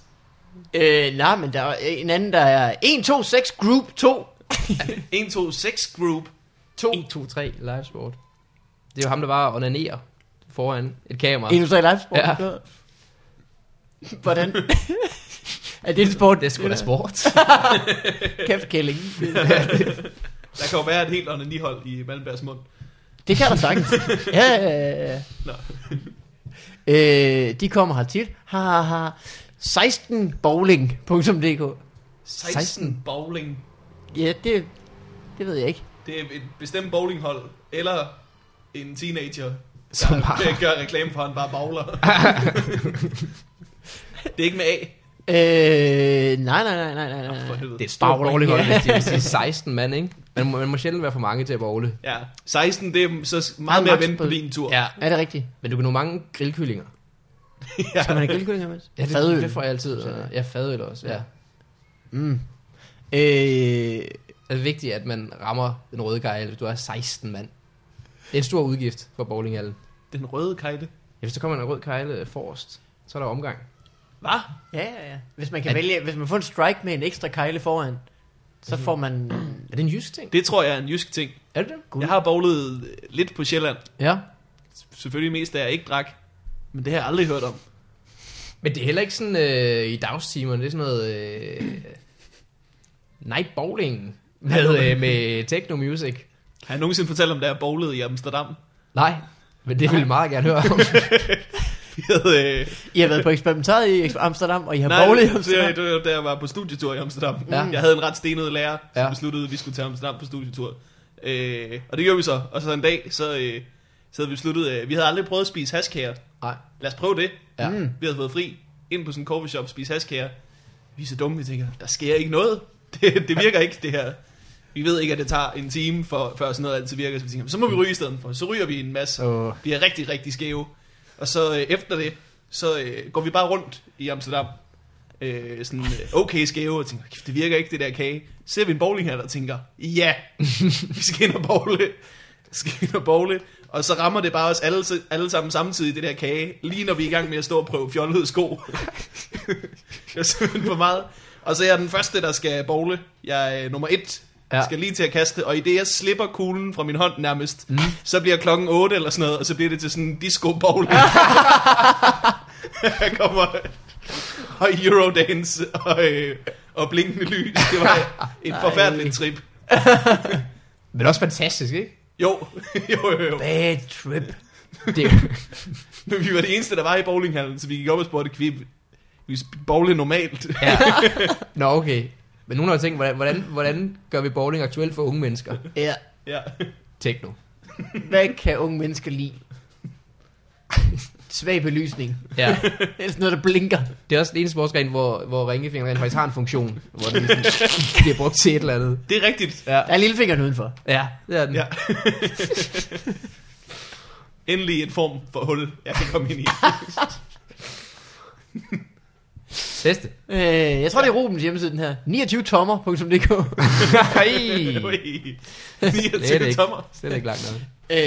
Øh, nej, men der er en anden, der er 1, 2, 6, group 2.
1, 2, 6 group.
2.
1, 2, 3, livesport. Det er jo ham, der bare onanerer foran et kamera.
1, 2, 3, livesport.
Ja.
Hvordan? Er det en sport?
Det er sgu da sport.
Kæft kælling.
Der kan jo være et helt onanihold i Malmbergs mund.
Det kan der sagtens. Ja, ja, ja, ja.
Nå.
Øh, de kommer hertil. Ha, ha, ha. 16bowling.dk
16,
16.
bowling.
Ja, det, det ved jeg ikke.
Det er et bestemt bowlinghold, eller en teenager,
Som
der
bare-
bare... (laughs) gør reklame for, at han bare
(laughs)
bowler. det er ikke med A.
Øh, nej, nej, nej, nej, nej, nej.
For
nej.
helvede.
Det er et stort
Bowling,
bowlinghold,
ja.
hvis de vil sige 16 mand, ikke? Man må, man må sjældent være for mange til at bowle.
Ja, 16, det er så
Meget
meget mere at
maks
vente på
på-
din tur.
Ja,
Er det rigtigt?
men du kan nå mange grillkyllinger.
Skal man have grillkyllinger med?
Ja, det,
Fadøl.
det får jeg altid. og- Ja, fadøl også, ja.
Ja. Mm. Øh,
Det er vigtigt, at man rammer den røde gejl, hvis du er 16 mand. Det er en stor udgift for bowlinghallen.
Den røde kejle.
Ja, hvis der kommer en rød kejle forrest, så er der omgang.
Hvad?
ja, ja, ja. Hvis man kan
Er-
vælge, hvis man får en strike med en ekstra kejle foran, så får man...
Er det en jysk ting?
Det tror jeg er en jysk ting.
Er det det?
Gud.
Jeg har bowlet øh, lidt på Sjælland.
Ja.
Selvfølgelig mest, da jeg ikke drak. Men det har jeg aldrig hørt om.
Men det er heller ikke sådan øh, i dagstimerne, det er sådan noget øh, night bowling med, øh, med techno music.
Har jeg nogensinde fortalt om, da jeg bowlede i Amsterdam? (laughs)
Nej, men det vil jeg meget gerne høre (laughs) om.
Vi havde, øh,
I har været på eksperimentariet i Amsterdam, og I har
Nej,
bowlet i
det-
Amsterdam.
Det, det var da jeg var på studietur i Amsterdam.
Ja.
Ja. Jeg havde en ret stenet lærer, som
Ja.
ja. besluttede, at vi skulle til Amsterdam på studietur. Øh, og det gjorde vi så. Og så en dag, så, øh, så havde vi besluttet, øh, vi havde aldrig prøvet at spise haskager.
Nej.
Lad os prøve det.
Ja.
Mm.
Vi havde fået fri ind på sådan en coffee shop, spise haskager. Vi er så dumme, vi tænker, der sker ikke noget. (laughs) Det, det virker ikke, det her. Vi ved ikke, at det tager en time, for, før sådan noget altid virker. Så vi tænker, så må vi ryge i stedet for. Så ryger vi en masse
Så
bliver rigtig, rigtig skæve. Og så øh, efter det, så øh, går vi bare rundt i Amsterdam. Øh, sådan øh, okay skæve, og tænker, "Kæft, det virker ikke det der kage. Så ser vi en bowlinghal og tænker, ja, vi skal ind og bowle. Vi skal ind og bowle. Og så rammer det bare os alle, alle sammen samtidig, det der kage, lige når vi er i gang med at stå og prøve fjollede sko. (laughs) det er simpelthen for meget. Og så er jeg den første, der skal bowle. Jeg er øh, nummer et.
Ja.
Ja. Skal lige til at kaste, og i det jeg slipper kuglen fra min hånd nærmest, mm. så bliver klokken 8 eller sådan noget, og så bliver det til sådan en disco bowl. (laughs) jeg kommer og Eurodance og, øh, og blinkende lys. Det (laughs) var et forfærdeligt trip.
Men også fantastisk, ikke?
Jo, (laughs) jo, jo, jo.
Bad trip.
Det er jo
Men vi var det eneste, der var i bowlinghallen, så vi gik op og spurgte, kan vi, kan vi sp- bowle normalt?
Ja. Nå, okay. Men nogen har jo tænkt, hvordan, hvordan, hvordan gør vi bowling aktuelt for unge mennesker?
(laughs) Ja.
Ja.
Techno.
Hvad kan unge mennesker lide? Svag belysning.
Ja.
Det er sådan noget, der blinker.
Det er også den ene sportsgren, hvor, hvor ringefingeren rent faktisk har en funktion, hvor den ligesom bliver brugt til et eller andet.
Det er rigtigt.
Ja,
Der er lillefingeren udenfor.
ja det er den.
Ja. (laughs) Endelig en form for hul, jeg kan komme ind i.
Bedste.
Øh, jeg tror, det er Rubens hjemmeside, den her.
(laughs)
29tommer.dk
Ej,
Ui.
Slet
29
ikke.
tommer.
slet ikke langt nok.
øh,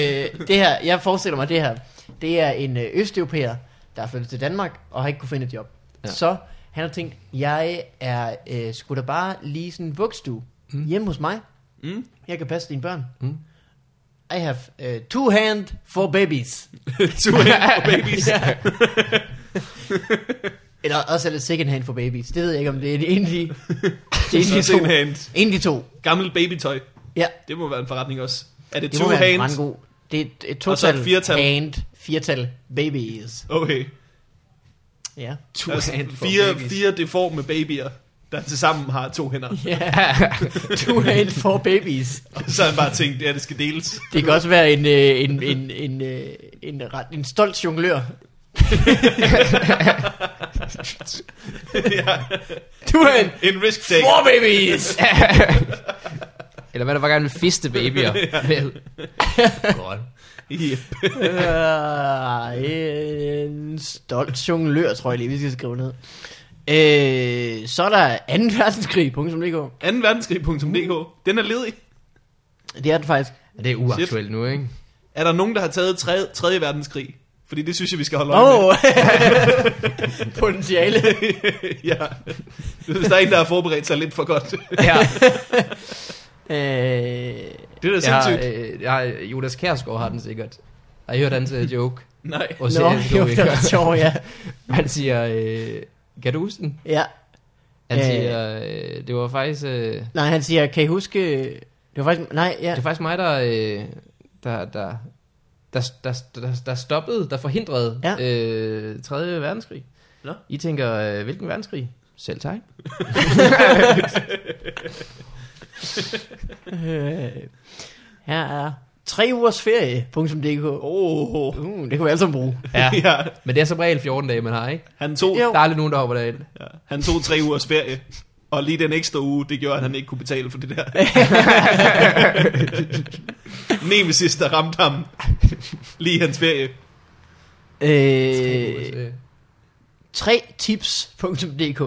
det her, jeg forestiller mig det her. Det er en øh, østeuropæer, der er flyttet til Danmark og har ikke kunne finde et job.
Ja.
Ja. Så han har tænkt, jeg er øh, sgu da bare lige sådan en vugstue mm. hjemme hos mig.
Mm.
Jeg kan passe dine børn.
Mm.
I have uh, two hand for babies. (laughs)
Two hand for babies.
Ja. Eller også er det second hand for babies. Det ved jeg ikke, om det er de egentlig. Det er egentlig
Så en
to.
hand.
Egentlig to.
Gammel babytøj.
Ja,
Det må være en forretning også. Er det,
det
two
må være meget
hands?
god. Det er et- et
Og så et
total
firtal.
hand, firtal babies.
Okay.
Ja.
Two
Altså,
hand for
fire,
babies.
fire deforme babyer, der tilsammen har to hænder.
(laughs) Ja, two hand for babies.
Og så har han bare tænkt, ja, det skal deles. (laughs)
Det kan også være en, øh, en, en, en, øh, en, ret, en stolt jonglør.
ja.
Two hand
En risk take.
for babies.
(laughs)
(laughs)
Eller hvad der var gerne vil fiste
(laughs)
babyer med. Godt.
Yeah.
Øh, en stolt jonglør, tror jeg lige, vi skal skrive ned. Øh, så er der 2. verdenskrig.dk.
2. verdenskrig.dk. Den er ledig.
Det er den faktisk.
Ja, det er uaktuelt nu,
(laughs)
ikke?
Er der nogen, der har taget 3. 3. verdenskrig? Fordi det synes jeg, vi skal holde øje
Åh!
med.
Oh. (laughs) Potentiale.
(laughs) ja. Hvis der er en, der har forberedt sig lidt for godt.
Ja,
Øh,
Det er da
jeg, har,
sindssygt.
øh, jeg, har- Jonas Kærsgaard har den sikkert. Har I hørt hans øh, joke?
Nej.
Og
(laughs)
(laughs)
nå, jo, det var sjovt, ja.
Han siger, øh, kan du huske den?
ja.
Han
Øh.
siger, øh, det var faktisk... Øh,
Nej, han siger, kan I huske... Det var faktisk... Nej, ja.
Det er faktisk mig, der, øh, der, der, der, der, der, der stoppede, der forhindrede
Ja.
ja. øh, 3. verdenskrig.
Nå.
I tænker, øh, hvilken verdenskrig? Selv
(laughs)
tak.
Øh, (laughs) her er tre ugers ferie.dk. Oh. Uh, det kan vi alle sammen bruge.
Ja.
(laughs) ja.
Men det er som regel 14 dage, man har, ikke?
Han, tog,
Jo.
Der er aldrig nogen, der hopper derind.
ja. han tog tre ugers ferie, og lige den ekstra uge, det gjorde, at han ikke kunne betale for det der. Nemesis, der ramte ham lige i hans ferie.
Øh, tre (laughs) tips.dk.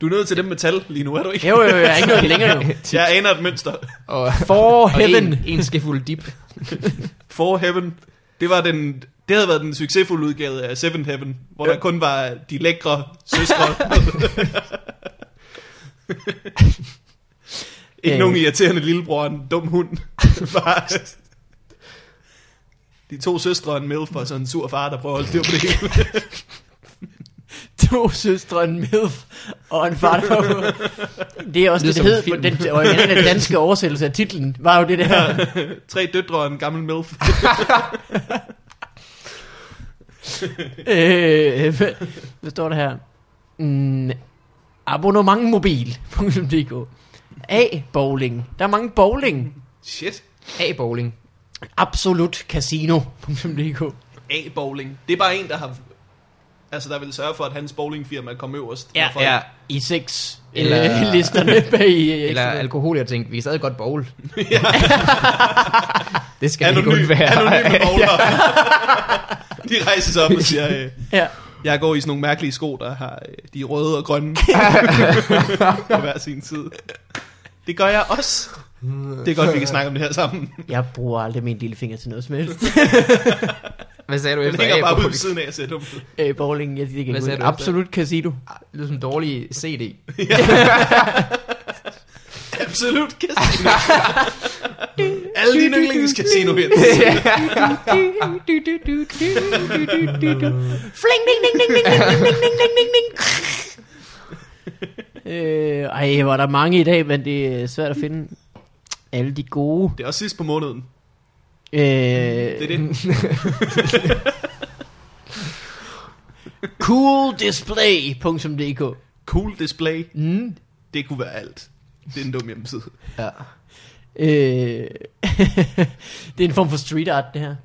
Du er nødt til dem med tal lige nu, er du ikke?
Jo, jo, jo, jeg er ikke noget længere nu.
Jeg aner et mønster.
(laughs) Og,
For
og
heaven.
en, en skefuld dip.
For Heaven, det var den... Det havde været den succesfulde udgave af Seventh Heaven, hvor der kun var de lækre (laughs) søstre. Ikke
Øh.
nogen irriterende lillebror og en dum hund. (laughs) Bare de to søstre og en milf og så en sur far, der prøver at holde styr på det hele.
(laughs) To søstre, en milf og en far, der var- Det er også det, det,
Lyder som
hed på
en film.
den originale danske oversættelse af titlen. Var jo det der.
(laughs) Tre døtre og en gammel milf.
Øh, (laughs) hvad- hvad står der her? Mm, abonnementmobil.dk A-bowling. Der er mange bowling.
(laughs) Shit.
A-bowling.
Absolut casino.dk
A-bowling. Det er bare en, der har... Altså, der vil sørge for, at hans bowlingfirma kommer øverst.
Ja,
når folk-
ja.
i seks eller
Eller- (laughs)
listerne bag i øh,
Eller
Excel.
alkohol, jeg tænkte, vi kan stadig godt bowl. (laughs) det skal Anonym. ikke
Anonym, (laughs)
undvære.
anonyme bowler. de rejser sig op og siger, øh,
ja.
jeg går i sådan nogle mærkelige sko, der har øh, de er røde og
(laughs)
grønne på hver sin side. Det gør jeg også. Det er godt, vi kan snakke om det her sammen.
Jeg bruger aldrig min lille finger til noget som
(laughs)
helst.
(laughs) Hvad sagde du
Jeg
efter
ligger bare ude ved
A-bowling?
siden af og ser dum.
(laughs)
ud.
øh, bowling, jeg det kan
Hvad sagde
ikke
du?
Absolut casino.
Ah, Det lyder som en dårlig
(laughs)
CD.
Absolut casino. Alle dine yndlingscasino
(laughs)
hits.
Fling, ding, ding, ding, ding, ding, ding, ding, ding, ding, ding. Øh, ej, hvor er der mange i dag, men det er svært at finde alle de gode.
Det er også sidst på måneden.
Øh,
Det er det.
Cooldisplay.dk
Cool display.
mm.
Det kunne være alt. Det er en dum hjemmeside.
Ja.
Øh, (laughs) det er en form for street art, det her.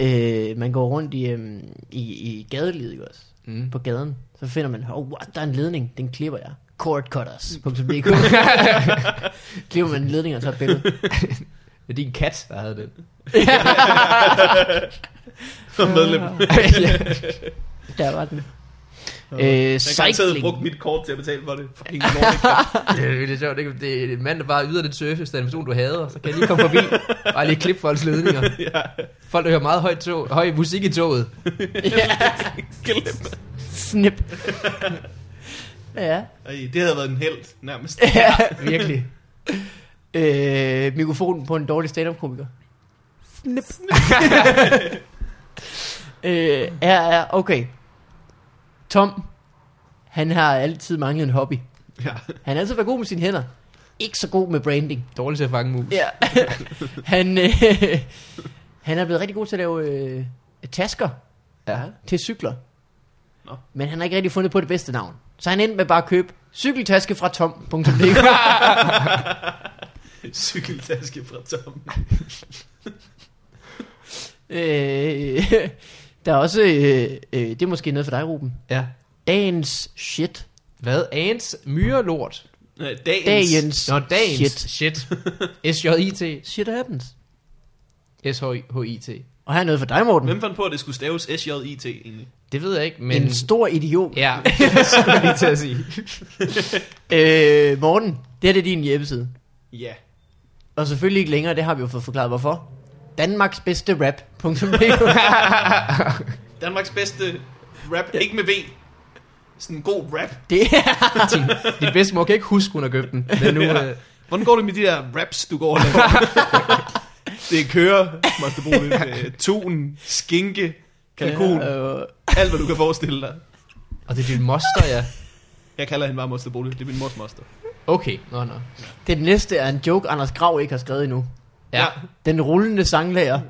Øh, man går rundt i, øhm, i, i gadelivet, ikke også?
Mm.
På gaden. Så finder man, oh, what, der er en ledning, den klipper jeg.
(laughs)
Cordcutters.dk Klipper man en ledning og tager et billede.
Det er din kat, der havde den.
Som medlem.
(laughs) ja. (laughs) Der var den. Øh,
Jeg har garanteret
cycling.
brugt
(laughs)
mit kort til at betale for det. Fucking lorte.
Det er virkelig sjovt. ikke? Det er en mand, der bare yder den surface, der er en person, du hader. Så kan jeg lige komme forbi. Bare lige klippe
(laughs)
folks ledninger. Folk, der hører meget høj, tog, høj musik i toget.
(laughs)
Snip. ja.
Ej, det havde været en held, nærmest.
ja.
Virkelig.
(laughs) Øh, mikrofonen på en dårlig stand-up-komiker. Snip. (laughs) øh, ja, ja, okay. Tom, han har altid manglet en hobby.
(laughs) Ja.
Han har altid været god med sine hænder. Ikke så god med branding.
Dårligt til at fange mus.
Ja. (laughs) han, øh, han er blevet rigtig god til at lave øh, tasker
Ja.
til cykler.
Nå.
Men han har ikke rigtig fundet på det bedste navn. Så han endte med bare at købe cykeltaske fra tom.dk.
Cykeltaske fra Tom.
Øh, (laughs) der er også, øh, øh, det er måske noget for dig, Ruben.
ja.
Dagens shit.
Hvad? Ants myrelort.
Nej, Dagens.
Dagens
Nå, dagens.
shit.
Shit. S-J-I-T.
Shit happens.
S-H-I-T.
Og her er noget for dig, Morten.
Hvem fandt på, at det skulle staves SJIT egentlig?
Det ved jeg ikke, men...
Men... En stor idiot.
Ja, (laughs) det skulle jeg lige til at sige.
Øh, Morten, det her det er din hjemmeside.
Ja.
Og selvfølgelig ikke længere, det har vi jo fået forklaret, hvorfor. Danmarks bedste rap.
(laughs) Danmarks bedste rap. Ikke med V. Sådan en god rap.
det er...
(laughs) Din, din bedstemor kan ikke huske, hun har købt den. Men nu...
Ja.
Øh,
Hvordan går det med de der raps, du går og laver? (laughs) det kører, måste (laughs) bruge lidt. øh, Tun, skinke, kalkun.
Øh,
Alt, hvad du kan forestille dig.
og det er din moster, ja.
Jeg kalder hende bare Moster Bodil. Det er min mors moster.
Okay, nå, nå. (laughs)
Det næste er en joke, Anders Grav ikke har skrevet endnu.
Ja.
Den rullende sanglærer.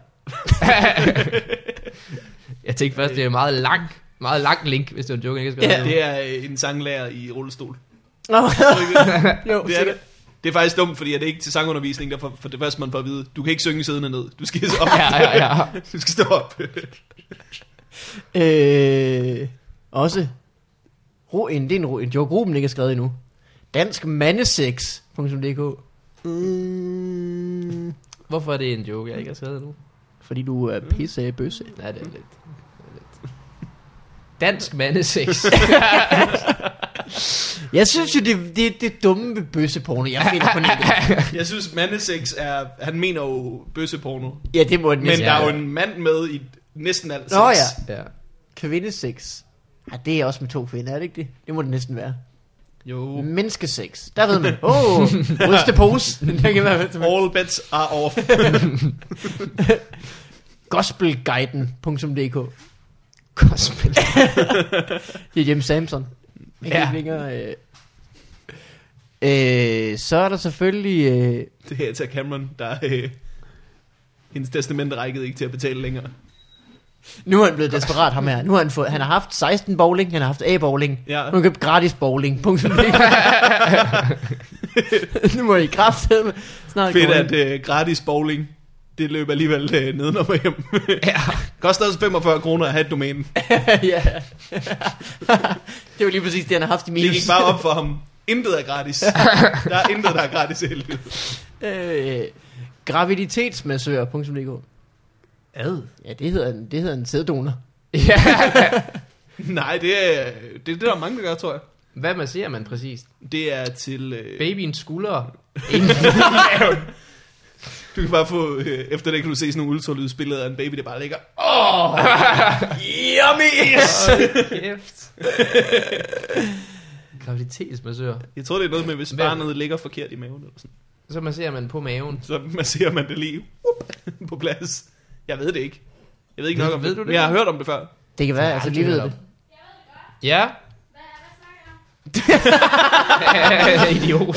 jeg tænkte først, det er en meget lang, meget lang link, hvis det var en joke, jeg ikke skal
Ja. Det er øh, en sanglærer i rullestol.
Nå, (laughs) jo,
Det er det. Det er faktisk dumt, fordi er det ikke til sangundervisning, der for, for det første man får at vide, du kan ikke synge siden og ned. Du skal op.
Ja, ja, ja.
(laughs) Du skal stå op. (laughs)
Øh, også. Ro, en, det er en, ro- en joke, Ruben ikke har skrevet endnu. Dansk mandesex.dk mm,
Hvorfor er det en joke, jeg ikke har skrevet nu?
Fordi du er pisse af bøsse.
Ja, det er lidt. Det er lidt. Dansk (laughs) mandesex.
Jeg synes jo, det, det, det dumme ved bøsseporno, jeg finder på nettet.
Jeg synes, mandesex er... Han mener jo bøsseporno.
Ja, det må den
Men
næsten.
der er jo en mand med i næsten alt sex.
Nå ja,
ja.
kvindesex. Ja, det er også med to kvinder, er det ikke det? Det må det næsten være.
Jo.
Mm. Menneskesex. Der ved man,
(laughs)
åh, oh, rystepose. Den kan være
All bets are off.
Gospelguiden.dk
Gospel.
Det er Jim Samson.
Ja.
Ja. Længere, øh. Øh, så er der selvfølgelig... Øh,
Det her er til Cameron, der... Øh, hendes testament rækkede ikke til at betale længere.
nu er han blevet desperat, ham her. Nu har han, fået, han har haft 16 bowling, han har haft A-bowling.
Ja.
Nu har han købt gratis bowling. Punktum. nu må I kraftedeme snart
Fedt,
gå ind.
at øh, gratis bowling, det løb alligevel øh, neden og hjem. (laughs) ja. Koster også 45 kroner at have et domæne.
(laughs) ja. det var lige præcis det, han har haft i
Det
minus.
gik bare op for ham. Intet er gratis. Der er intet, der er gratis i helvede.
Øh, graviditetsmassør.dk Ad. Ja, det hedder, en- det hedder en sæddonor.
ja.
Nej, det er, det er det, der er mange, der gør, tror jeg.
Hvad man ser man præcist?
Det er til... Øh,
Babyens skuldre.
(laughs) Du kan bare få, øh, efter det kan du se sådan nogle ultralydsbilleder af en baby, der bare ligger. Åh,
(laughs)
oh, yummy! Yes!
Kæft. (laughs) Graviditetsmassør.
Jeg tror, det er noget med, hvis
Hvad?
barnet ligger forkert i maven, eller sådan.
Så masserer man på maven.
så masserer man det lige whoop, på plads. Jeg ved det ikke. Jeg ved ikke
Ved-
nok om
ved
det,
du det?
men jeg har hørt om det før.
Det kan være,
Jeg har
altså
aldrig
lige ved
hørt
det.
(laughs) Ja. Idiot.
Oh,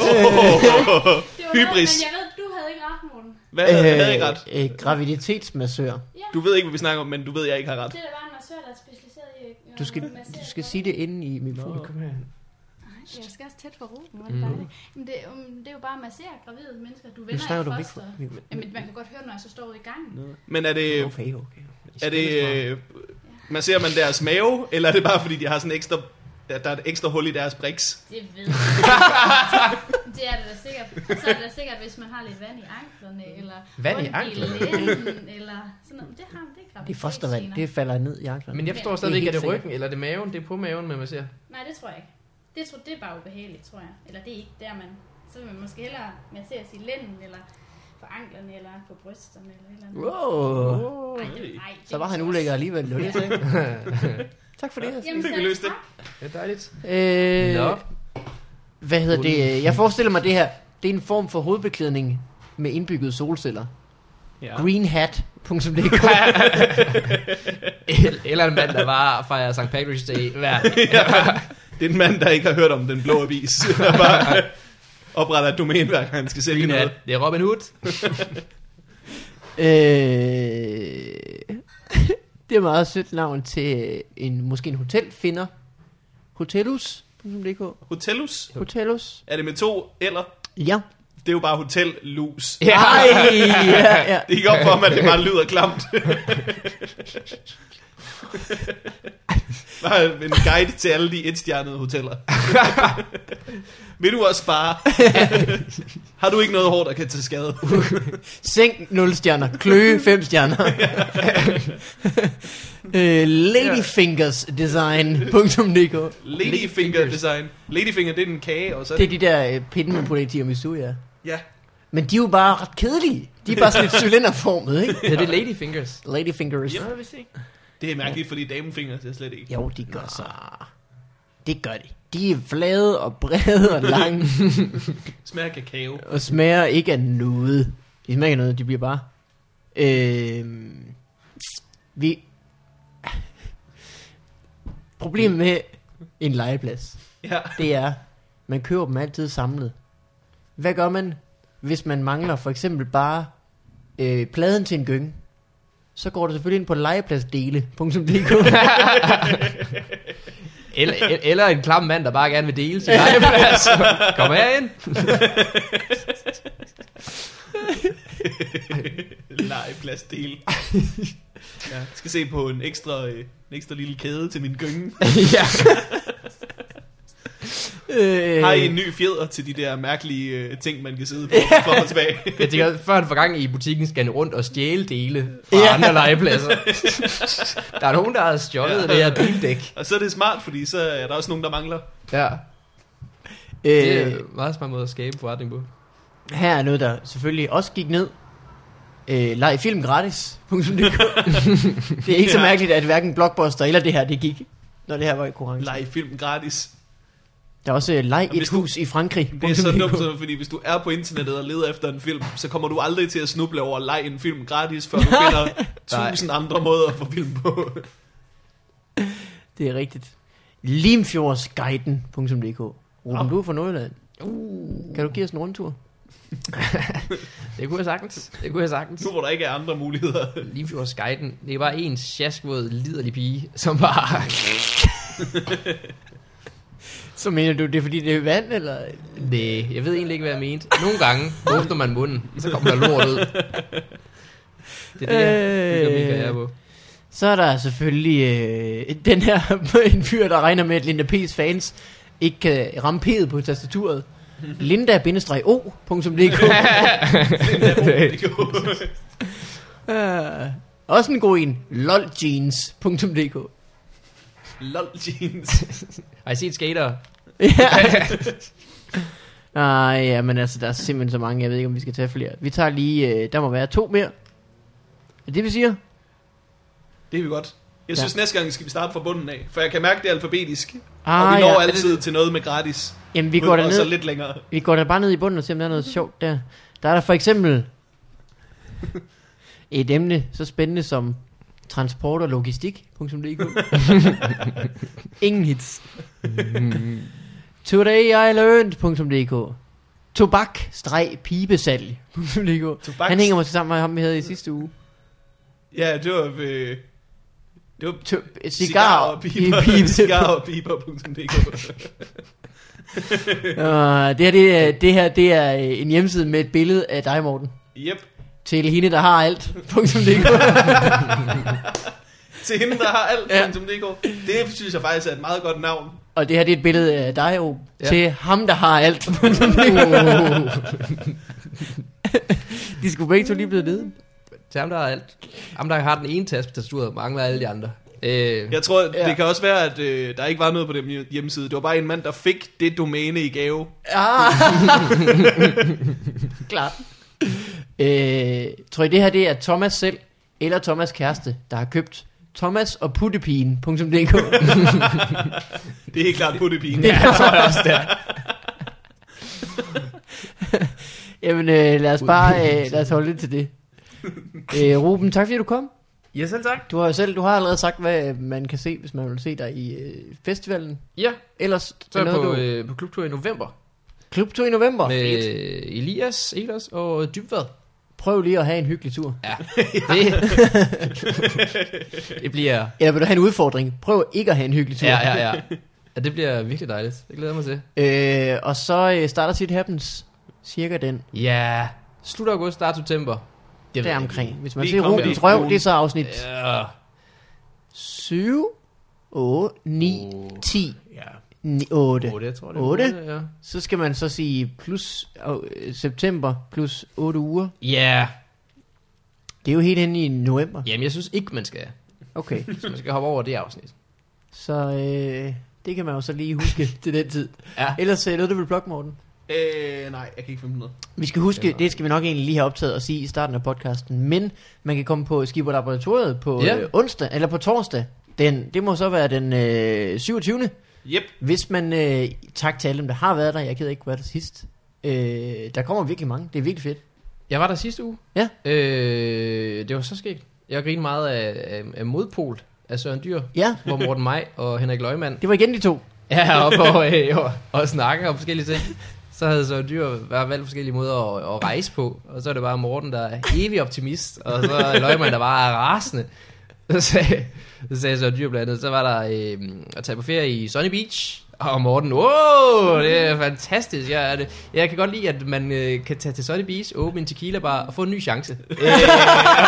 Hybris.
Men jeg ved, du havde ikke ret, Morten.
(laughs) Hvad øh, havde jeg ikke ret?
øh, graviditetsmassør.
Ja,
Du ved ikke, hvad vi snakker om, men du ved, jeg ikke har ret.
det er da bare en massør, der er specialiseret i... øh,
Du skal,
at massere
du skal
folk.
sige det inde i mikrofonen.
Kom her.
Ej, Jeg skal også tæt for roden, hvor er det dejligt. Men det, um, det er jo bare at massere gravide mennesker. Du
Mm. Nu
vender
snakker du
ikke
mikro.
foster. Jamen, man kan godt høre, når jeg så står ude i gangen.
Men er det,
Okay, okay.
Øh, er det øh, masserer man deres mave, eller er det bare, fordi de har sådan ekstra, at der er et ekstra hul i deres briks?
Det ved
(laughs)
jeg. Det er det da sikkert. Så er det da sikkert, hvis man har lidt vand i anklerne, eller
Vand i
ondt
anklerne?
lænden, eller sådan noget. Det har det er
Det er fostervand, det falder ned i anklerne.
Men jeg forstår
Det er
stadigvæk, er
helt
det
sikkert.
ryggen, eller er det maven? Det er på maven, man masserer.
Nej, det tror jeg ikke. Det, tror, det er bare ubehageligt, tror jeg. Eller det er ikke der, man... Så vil man måske hellere masseres i lænden, eller på anklerne, eller på brysterne, eller et eller andet.
Wow.
(laughs)
Ej, det, ej, det
Så var
er
han
måske
ulækker
også-
alligevel. Det var det, jeg sagde. tak for det.
Jamen,
Fik vi
selv
løst det?
tak.
Ja, dejligt.
Øh,
Nå.
Hvad hedder det? Jeg forestiller mig det her. Det er en form for hovedbeklædning med indbygget solceller.
(laughs) Ja.
Greenhat.dk
Eller en mand, der bare fejrer St. Patrick's Day hver dag.
Det er en mand, der ikke har hørt om den blå avis, (laughs) der bare opretter et domæneværk, han skal sælge
Green
noget.
hat. Det er Robin Hood.
Øh, (laughs) det er meget sødt navn til en, måske en hotelfinder. Hotellus.dk
Hotellus?
Hotellus.
Er det med to eller?
Ja.
Det er jo bare hotellus.
Ja.
Ej, ja, (laughs) ja.
Det gik op for mig, at det bare lyder klamt. bare en guide til alle de etstjernede hoteller. Vil du også spare? har du ikke noget hår, der kan tage skade?
Seng 0 stjerner. Kløe 5 stjerner. øh, Ladyfingersdesign.dk
Ladyfinger design. Ladyfinger, det er en kage, og så er
Det er
det...
de der øh, pinde, man putter i tiramisu, ja.
Ja.
Men de er jo bare ret kedelige. De er bare sådan lidt cylinderformede, ikke?
Det er det Ladyfingers.
Ladyfingers.
Nå, jeg vidste ikke.
Det er mærkeligt, fordi damefinger, det er slet ikke.
Jo, de gør så. Det gør de. De er flade og brede og lange,
Smager af kakao.
og smager ikke af noget. De smager ikke af noget, de bliver bare... Øh, vi... Problemet med en legeplads,
Ja.
det er, man køber dem altid samlet. Hvad gør man, hvis man mangler for eksempel bare øh, pladen til en gynge? Så går du selvfølgelig ind på legepladsdele.dk.
(laughs) Eller, el- eller en klam mand, der bare gerne vil dele sin legeplads. (laughs) Kom herind.
Legepladsdel. ja. Skal se på en ekstra, øh, en ekstra lille kæde til min gynge.
(laughs) ja.
øh,
Har I en ny fjeder til de der mærkelige øh, ting, man kan
(laughs)
sidde på for og tilbage?
Jeg tænker, før han får gang i butikken, skal han rundt og stjæle dele fra
Ja.
ja. andre legepladser. (laughs) der er nogen, der har stjålet
Ja.
ja. det her bildæk.
og så er det smart, fordi så er der også nogen, der mangler.
Ja. Det er
øh,
en meget smart måde at skabe forretning på.
her er noget, der selvfølgelig også gik ned. Øh, leg film gratis. (laughs) det er ikke så
Ja.
mærkeligt, at hverken Blockbuster eller det her, det gik, når det her var i konkurrence.
Lege film gratis.
Der er også øh, leg
Jamen,
et
hvis du-
hus i Frankrig.
Det er så dumt, sådan, fordi hvis du er på internettet og leder efter en film, så kommer du aldrig til at snuble over at lege en film gratis, før du
(laughs)
finder
Nej.
tusind andre måder at få film på.
Det er rigtigt. Limfjordsguiden.dk Ruben, du er fra Nordjylland. Uh. Kan du give os en rundtur?
Det kunne jeg sagtens. Det kunne jeg sagtens.
Nu hvor der ikke er andre
(laughs)
muligheder.
Limfjords guiden, det er bare en sjaskvåd, liderlig pige, som bare...
Så mener du, det er fordi, det er vand, eller?
Næh, jeg ved egentlig ikke, hvad jeg mente. Nogle gange åbner man munden, så kommer der lort ud. Det er det,
Øh.
øh... jeg er på.
Så er der selvfølgelig øh, den her (laughs) en fyr, der regner med, at Linda P's fans ikke kan ramme P'et på
(laughs)
tastaturet. (laughs)
(laughs)
Linda-o.dk uh, Også en god en. loljeans.dk
Lol jeans.
Har I set skater?
Ja. (laughs) Nej, ja, men altså, der er simpelthen så mange. Jeg ved ikke, om vi skal tage flere. Vi tager lige, øh, der må være to mere. Er det, vi siger?
Det er vi godt. Jeg
Ja.
synes, næste gang skal vi starte fra bunden af, for jeg kan mærke, det er alfabetisk.
Ah,
og vi når
ja.
altid til noget med gratis.
Jamen, vi
Men
går,
også
derned,
lidt længere.
vi går da bare ned i bunden og ser, om der er noget sjovt der. Der er der for
(laughs)
eksempel et emne så spændende som transport og
(laughs)
logistik.dk Ingen hits. Today I learned.dk Tobak-pibesalg.dk
Tobaks-
Han hænger måske sammen med ham, vi havde i sidste uge.
Ja, det var... Øh, det var
Tø-
cigar
(laughs)
og piber.
pibe.
(laughs) Cigar og piber.dk
Øh, det, her, det, er, det her, det er øh, en hjemmeside med et billede af dig, Morten.
Yep.
Til hende, der har alt. Punktum DK.
Til hende, der har alt.
Ja.
Ja. Det synes jeg faktisk er et meget godt navn.
Og det her, det er et billede af dig, O. Ja.
Ja.
Til ham, der har alt. De skulle begge to lige blive nede.
Til ham, der har alt. Ham, der har den ene taske på tastaturet, mangler alle de andre. Øh,
Jeg tror, ja.
Ja.
det kan også være, at øh, der ikke var noget på den hjem- hjemmeside. Det var bare en mand, der fik det domæne i gave.
Ah. Klart. Øh, tror I, det her, det er Thomas selv, eller Thomas kæreste, der har købt Thomas og puttepigen.dk
Det er helt klart puttepigen.
Det ja, tror jeg også, der. (laughs) Jamen, øh, lad os bare øh, lad os holde lidt til det. Øh, Ruben, tak fordi du kom.
ja, selv tak.
Du har jo selv, du har allerede sagt, hvad øh, man kan se, hvis man vil se dig i øh, festivalen.
Ja,
Ellers
så er jeg
noget,
på,
du...
øh, på klubtur i november.
Klubtur i november.
med
Fedt.
Elias, Ehlers og Dybvad.
Prøv lige at have en hyggelig tur.
(laughs) Ja, (laughs) det, det bliver...
Eller vil du have en udfordring? Prøv ikke at have en hyggelig tur.
Ja, ja, ja. ja, det bliver virkelig dejligt. Det glæder jeg mig til.
ja. Øh, og så øh, starter Tit Happens cirka den
Ja, slut august, start september. Det ved
der
jeg
omkring. Hvis man
Lige
ser
kom
Rubens
der.
røv, det er så afsnit
ikke. Ja,
7, 8, 9, 10,
ja.
8.
Otte, jeg tror det. er
Otte?
Ja.
Så skal man så sige plus øh, september plus 8 uger.
ja,
Det er jo helt hen i november.
jamen jeg synes ikke, man skal.
Okay,
Så man skal hoppe over det afsnit.
så øh, det kan man jo så lige (laughs) huske til den tid.
Ja.
Ellers øh, noget, du vil blokke, Morten.
Øh, nej, jeg kan ikke finde noget.
Vi skal huske, det skal vi nok egentlig lige have optaget og sige i starten af podcasten, men man kan komme på Skibber Laboratoriet på
Ja.
øh, onsdag, eller på torsdag. Den, det må så være den øh, 27.
Yep.
Hvis man, øh, tak til alle dem, der har været der, jeg gider ikke være der sidst. Øh, der kommer virkelig mange, det er virkelig fedt.
Jeg var der sidste uge.
Ja.
Øh, det var så skægt. Jeg grinede meget af, af, af Modpol af Søren Dyr,
Ja,
hvor Morten Maj og Henrik Løgman
det var igen de to.
Ja, op og, øh, og, og snakke om forskellige ting. Så havde så dyr været valgt forskellige måder at, at rejse på, og så er det bare Morten, der er evig optimist, og så er Løgman, der bare er rasende. Så sagde, så sagde så dyr blandt andet, så var der øh, at tage på ferie i Sunny Beach, og Morten, åh, det er fantastisk, jeg, er det. jeg kan godt lide, at man øh, kan tage til Sunny Beach, åbne en tequila bar og få en ny chance. Øh,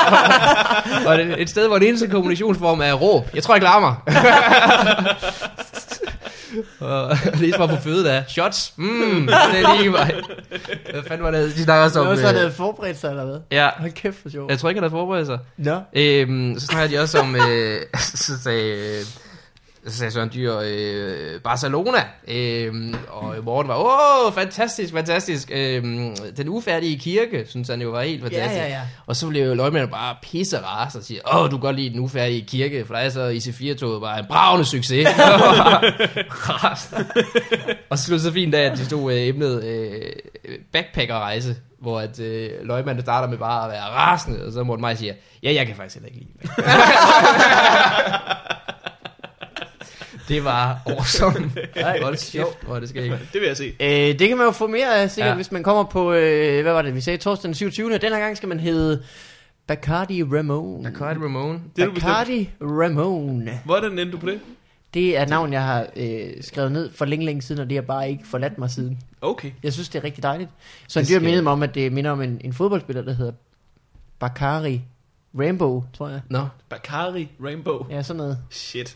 (laughs) og, og det- et sted, hvor den eneste kommunikationsform er råb. Jeg tror, jeg klarer mig. (laughs) Og lige for at få føde der. Shots. Mm, det er lige mig. Hvad fanden var det, de snakker også
Som,
om?
Nå, så havde
Øh,
det forberedt sig eller hvad?
ja,
Hold kæft for sjov.
jeg tror ikke, han havde forberedt sig.
Nå.
Øhm, så snakker de også om, øh, (laughs) så sagde, øh, så sagde Søren Dyr, øh, Barcelona. Øhm, og Morten var, åh, fantastisk, fantastisk. Øhm, den ufærdige kirke, synes han jo var helt fantastisk.
ja, ja.
Og så blev løgmanden bare pisse ras og siger, åh, du kan godt lide den ufærdige kirke, for der er så IC4-toget bare en bravende succes. (laughs) Ras. og så sluttede så fint af, at de stod øh, emnet øh, backpackerrejse, hvor at øh, løgmanden starter med bare at være rasende, og så Morten Maj siger, ja, jeg kan faktisk heller ikke lide det." (laughs) Det var awesome. Ej, hvor er det sjovt, hvor er det skal ikke.
Det vil jeg se.
Øh, det kan man jo få mere af, sikkert, ja.
Ja.
hvis man kommer på, øh, hvad var det, vi sagde, torsdag den 27. Den her gang skal man hedde Bacardi Ramon.
Cardi Ramone.
Det er du
Bacardi Ramon.
Hvordan endte du på det?
Det er et navn, jeg har øh, skrevet ned for længe, længe siden, og det har bare ikke forladt mig siden.
Okay.
Jeg synes, det er rigtig dejligt. Så en
Det
dyr
skal-
mindede mig om, at det minder om en, en fodboldspiller, der hedder Bakari Rambo, tror jeg.
Nå,
Bakari Rainbow.
Ja, sådan noget.
Shit.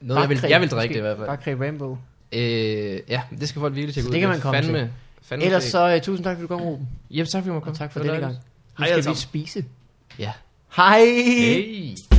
noget, jeg vil, jeg vil drikke det i hvert fald.
Bakari Rambo.
Øh, ja, det skal folk virkelig tjekke
Så
ud.
det kan
er
man komme
fandme, til. Fandme
Ellers
fedt.
så uh, tusind tak, fordi du kom, Ruben.
Jamen, tak fordi du måtte komme.
Og tak for
Det var
denne gang.
dejligt.
Nu
Hej
skal
alle
vi
sammen.
spise.
Ja.
Hej!
Hey.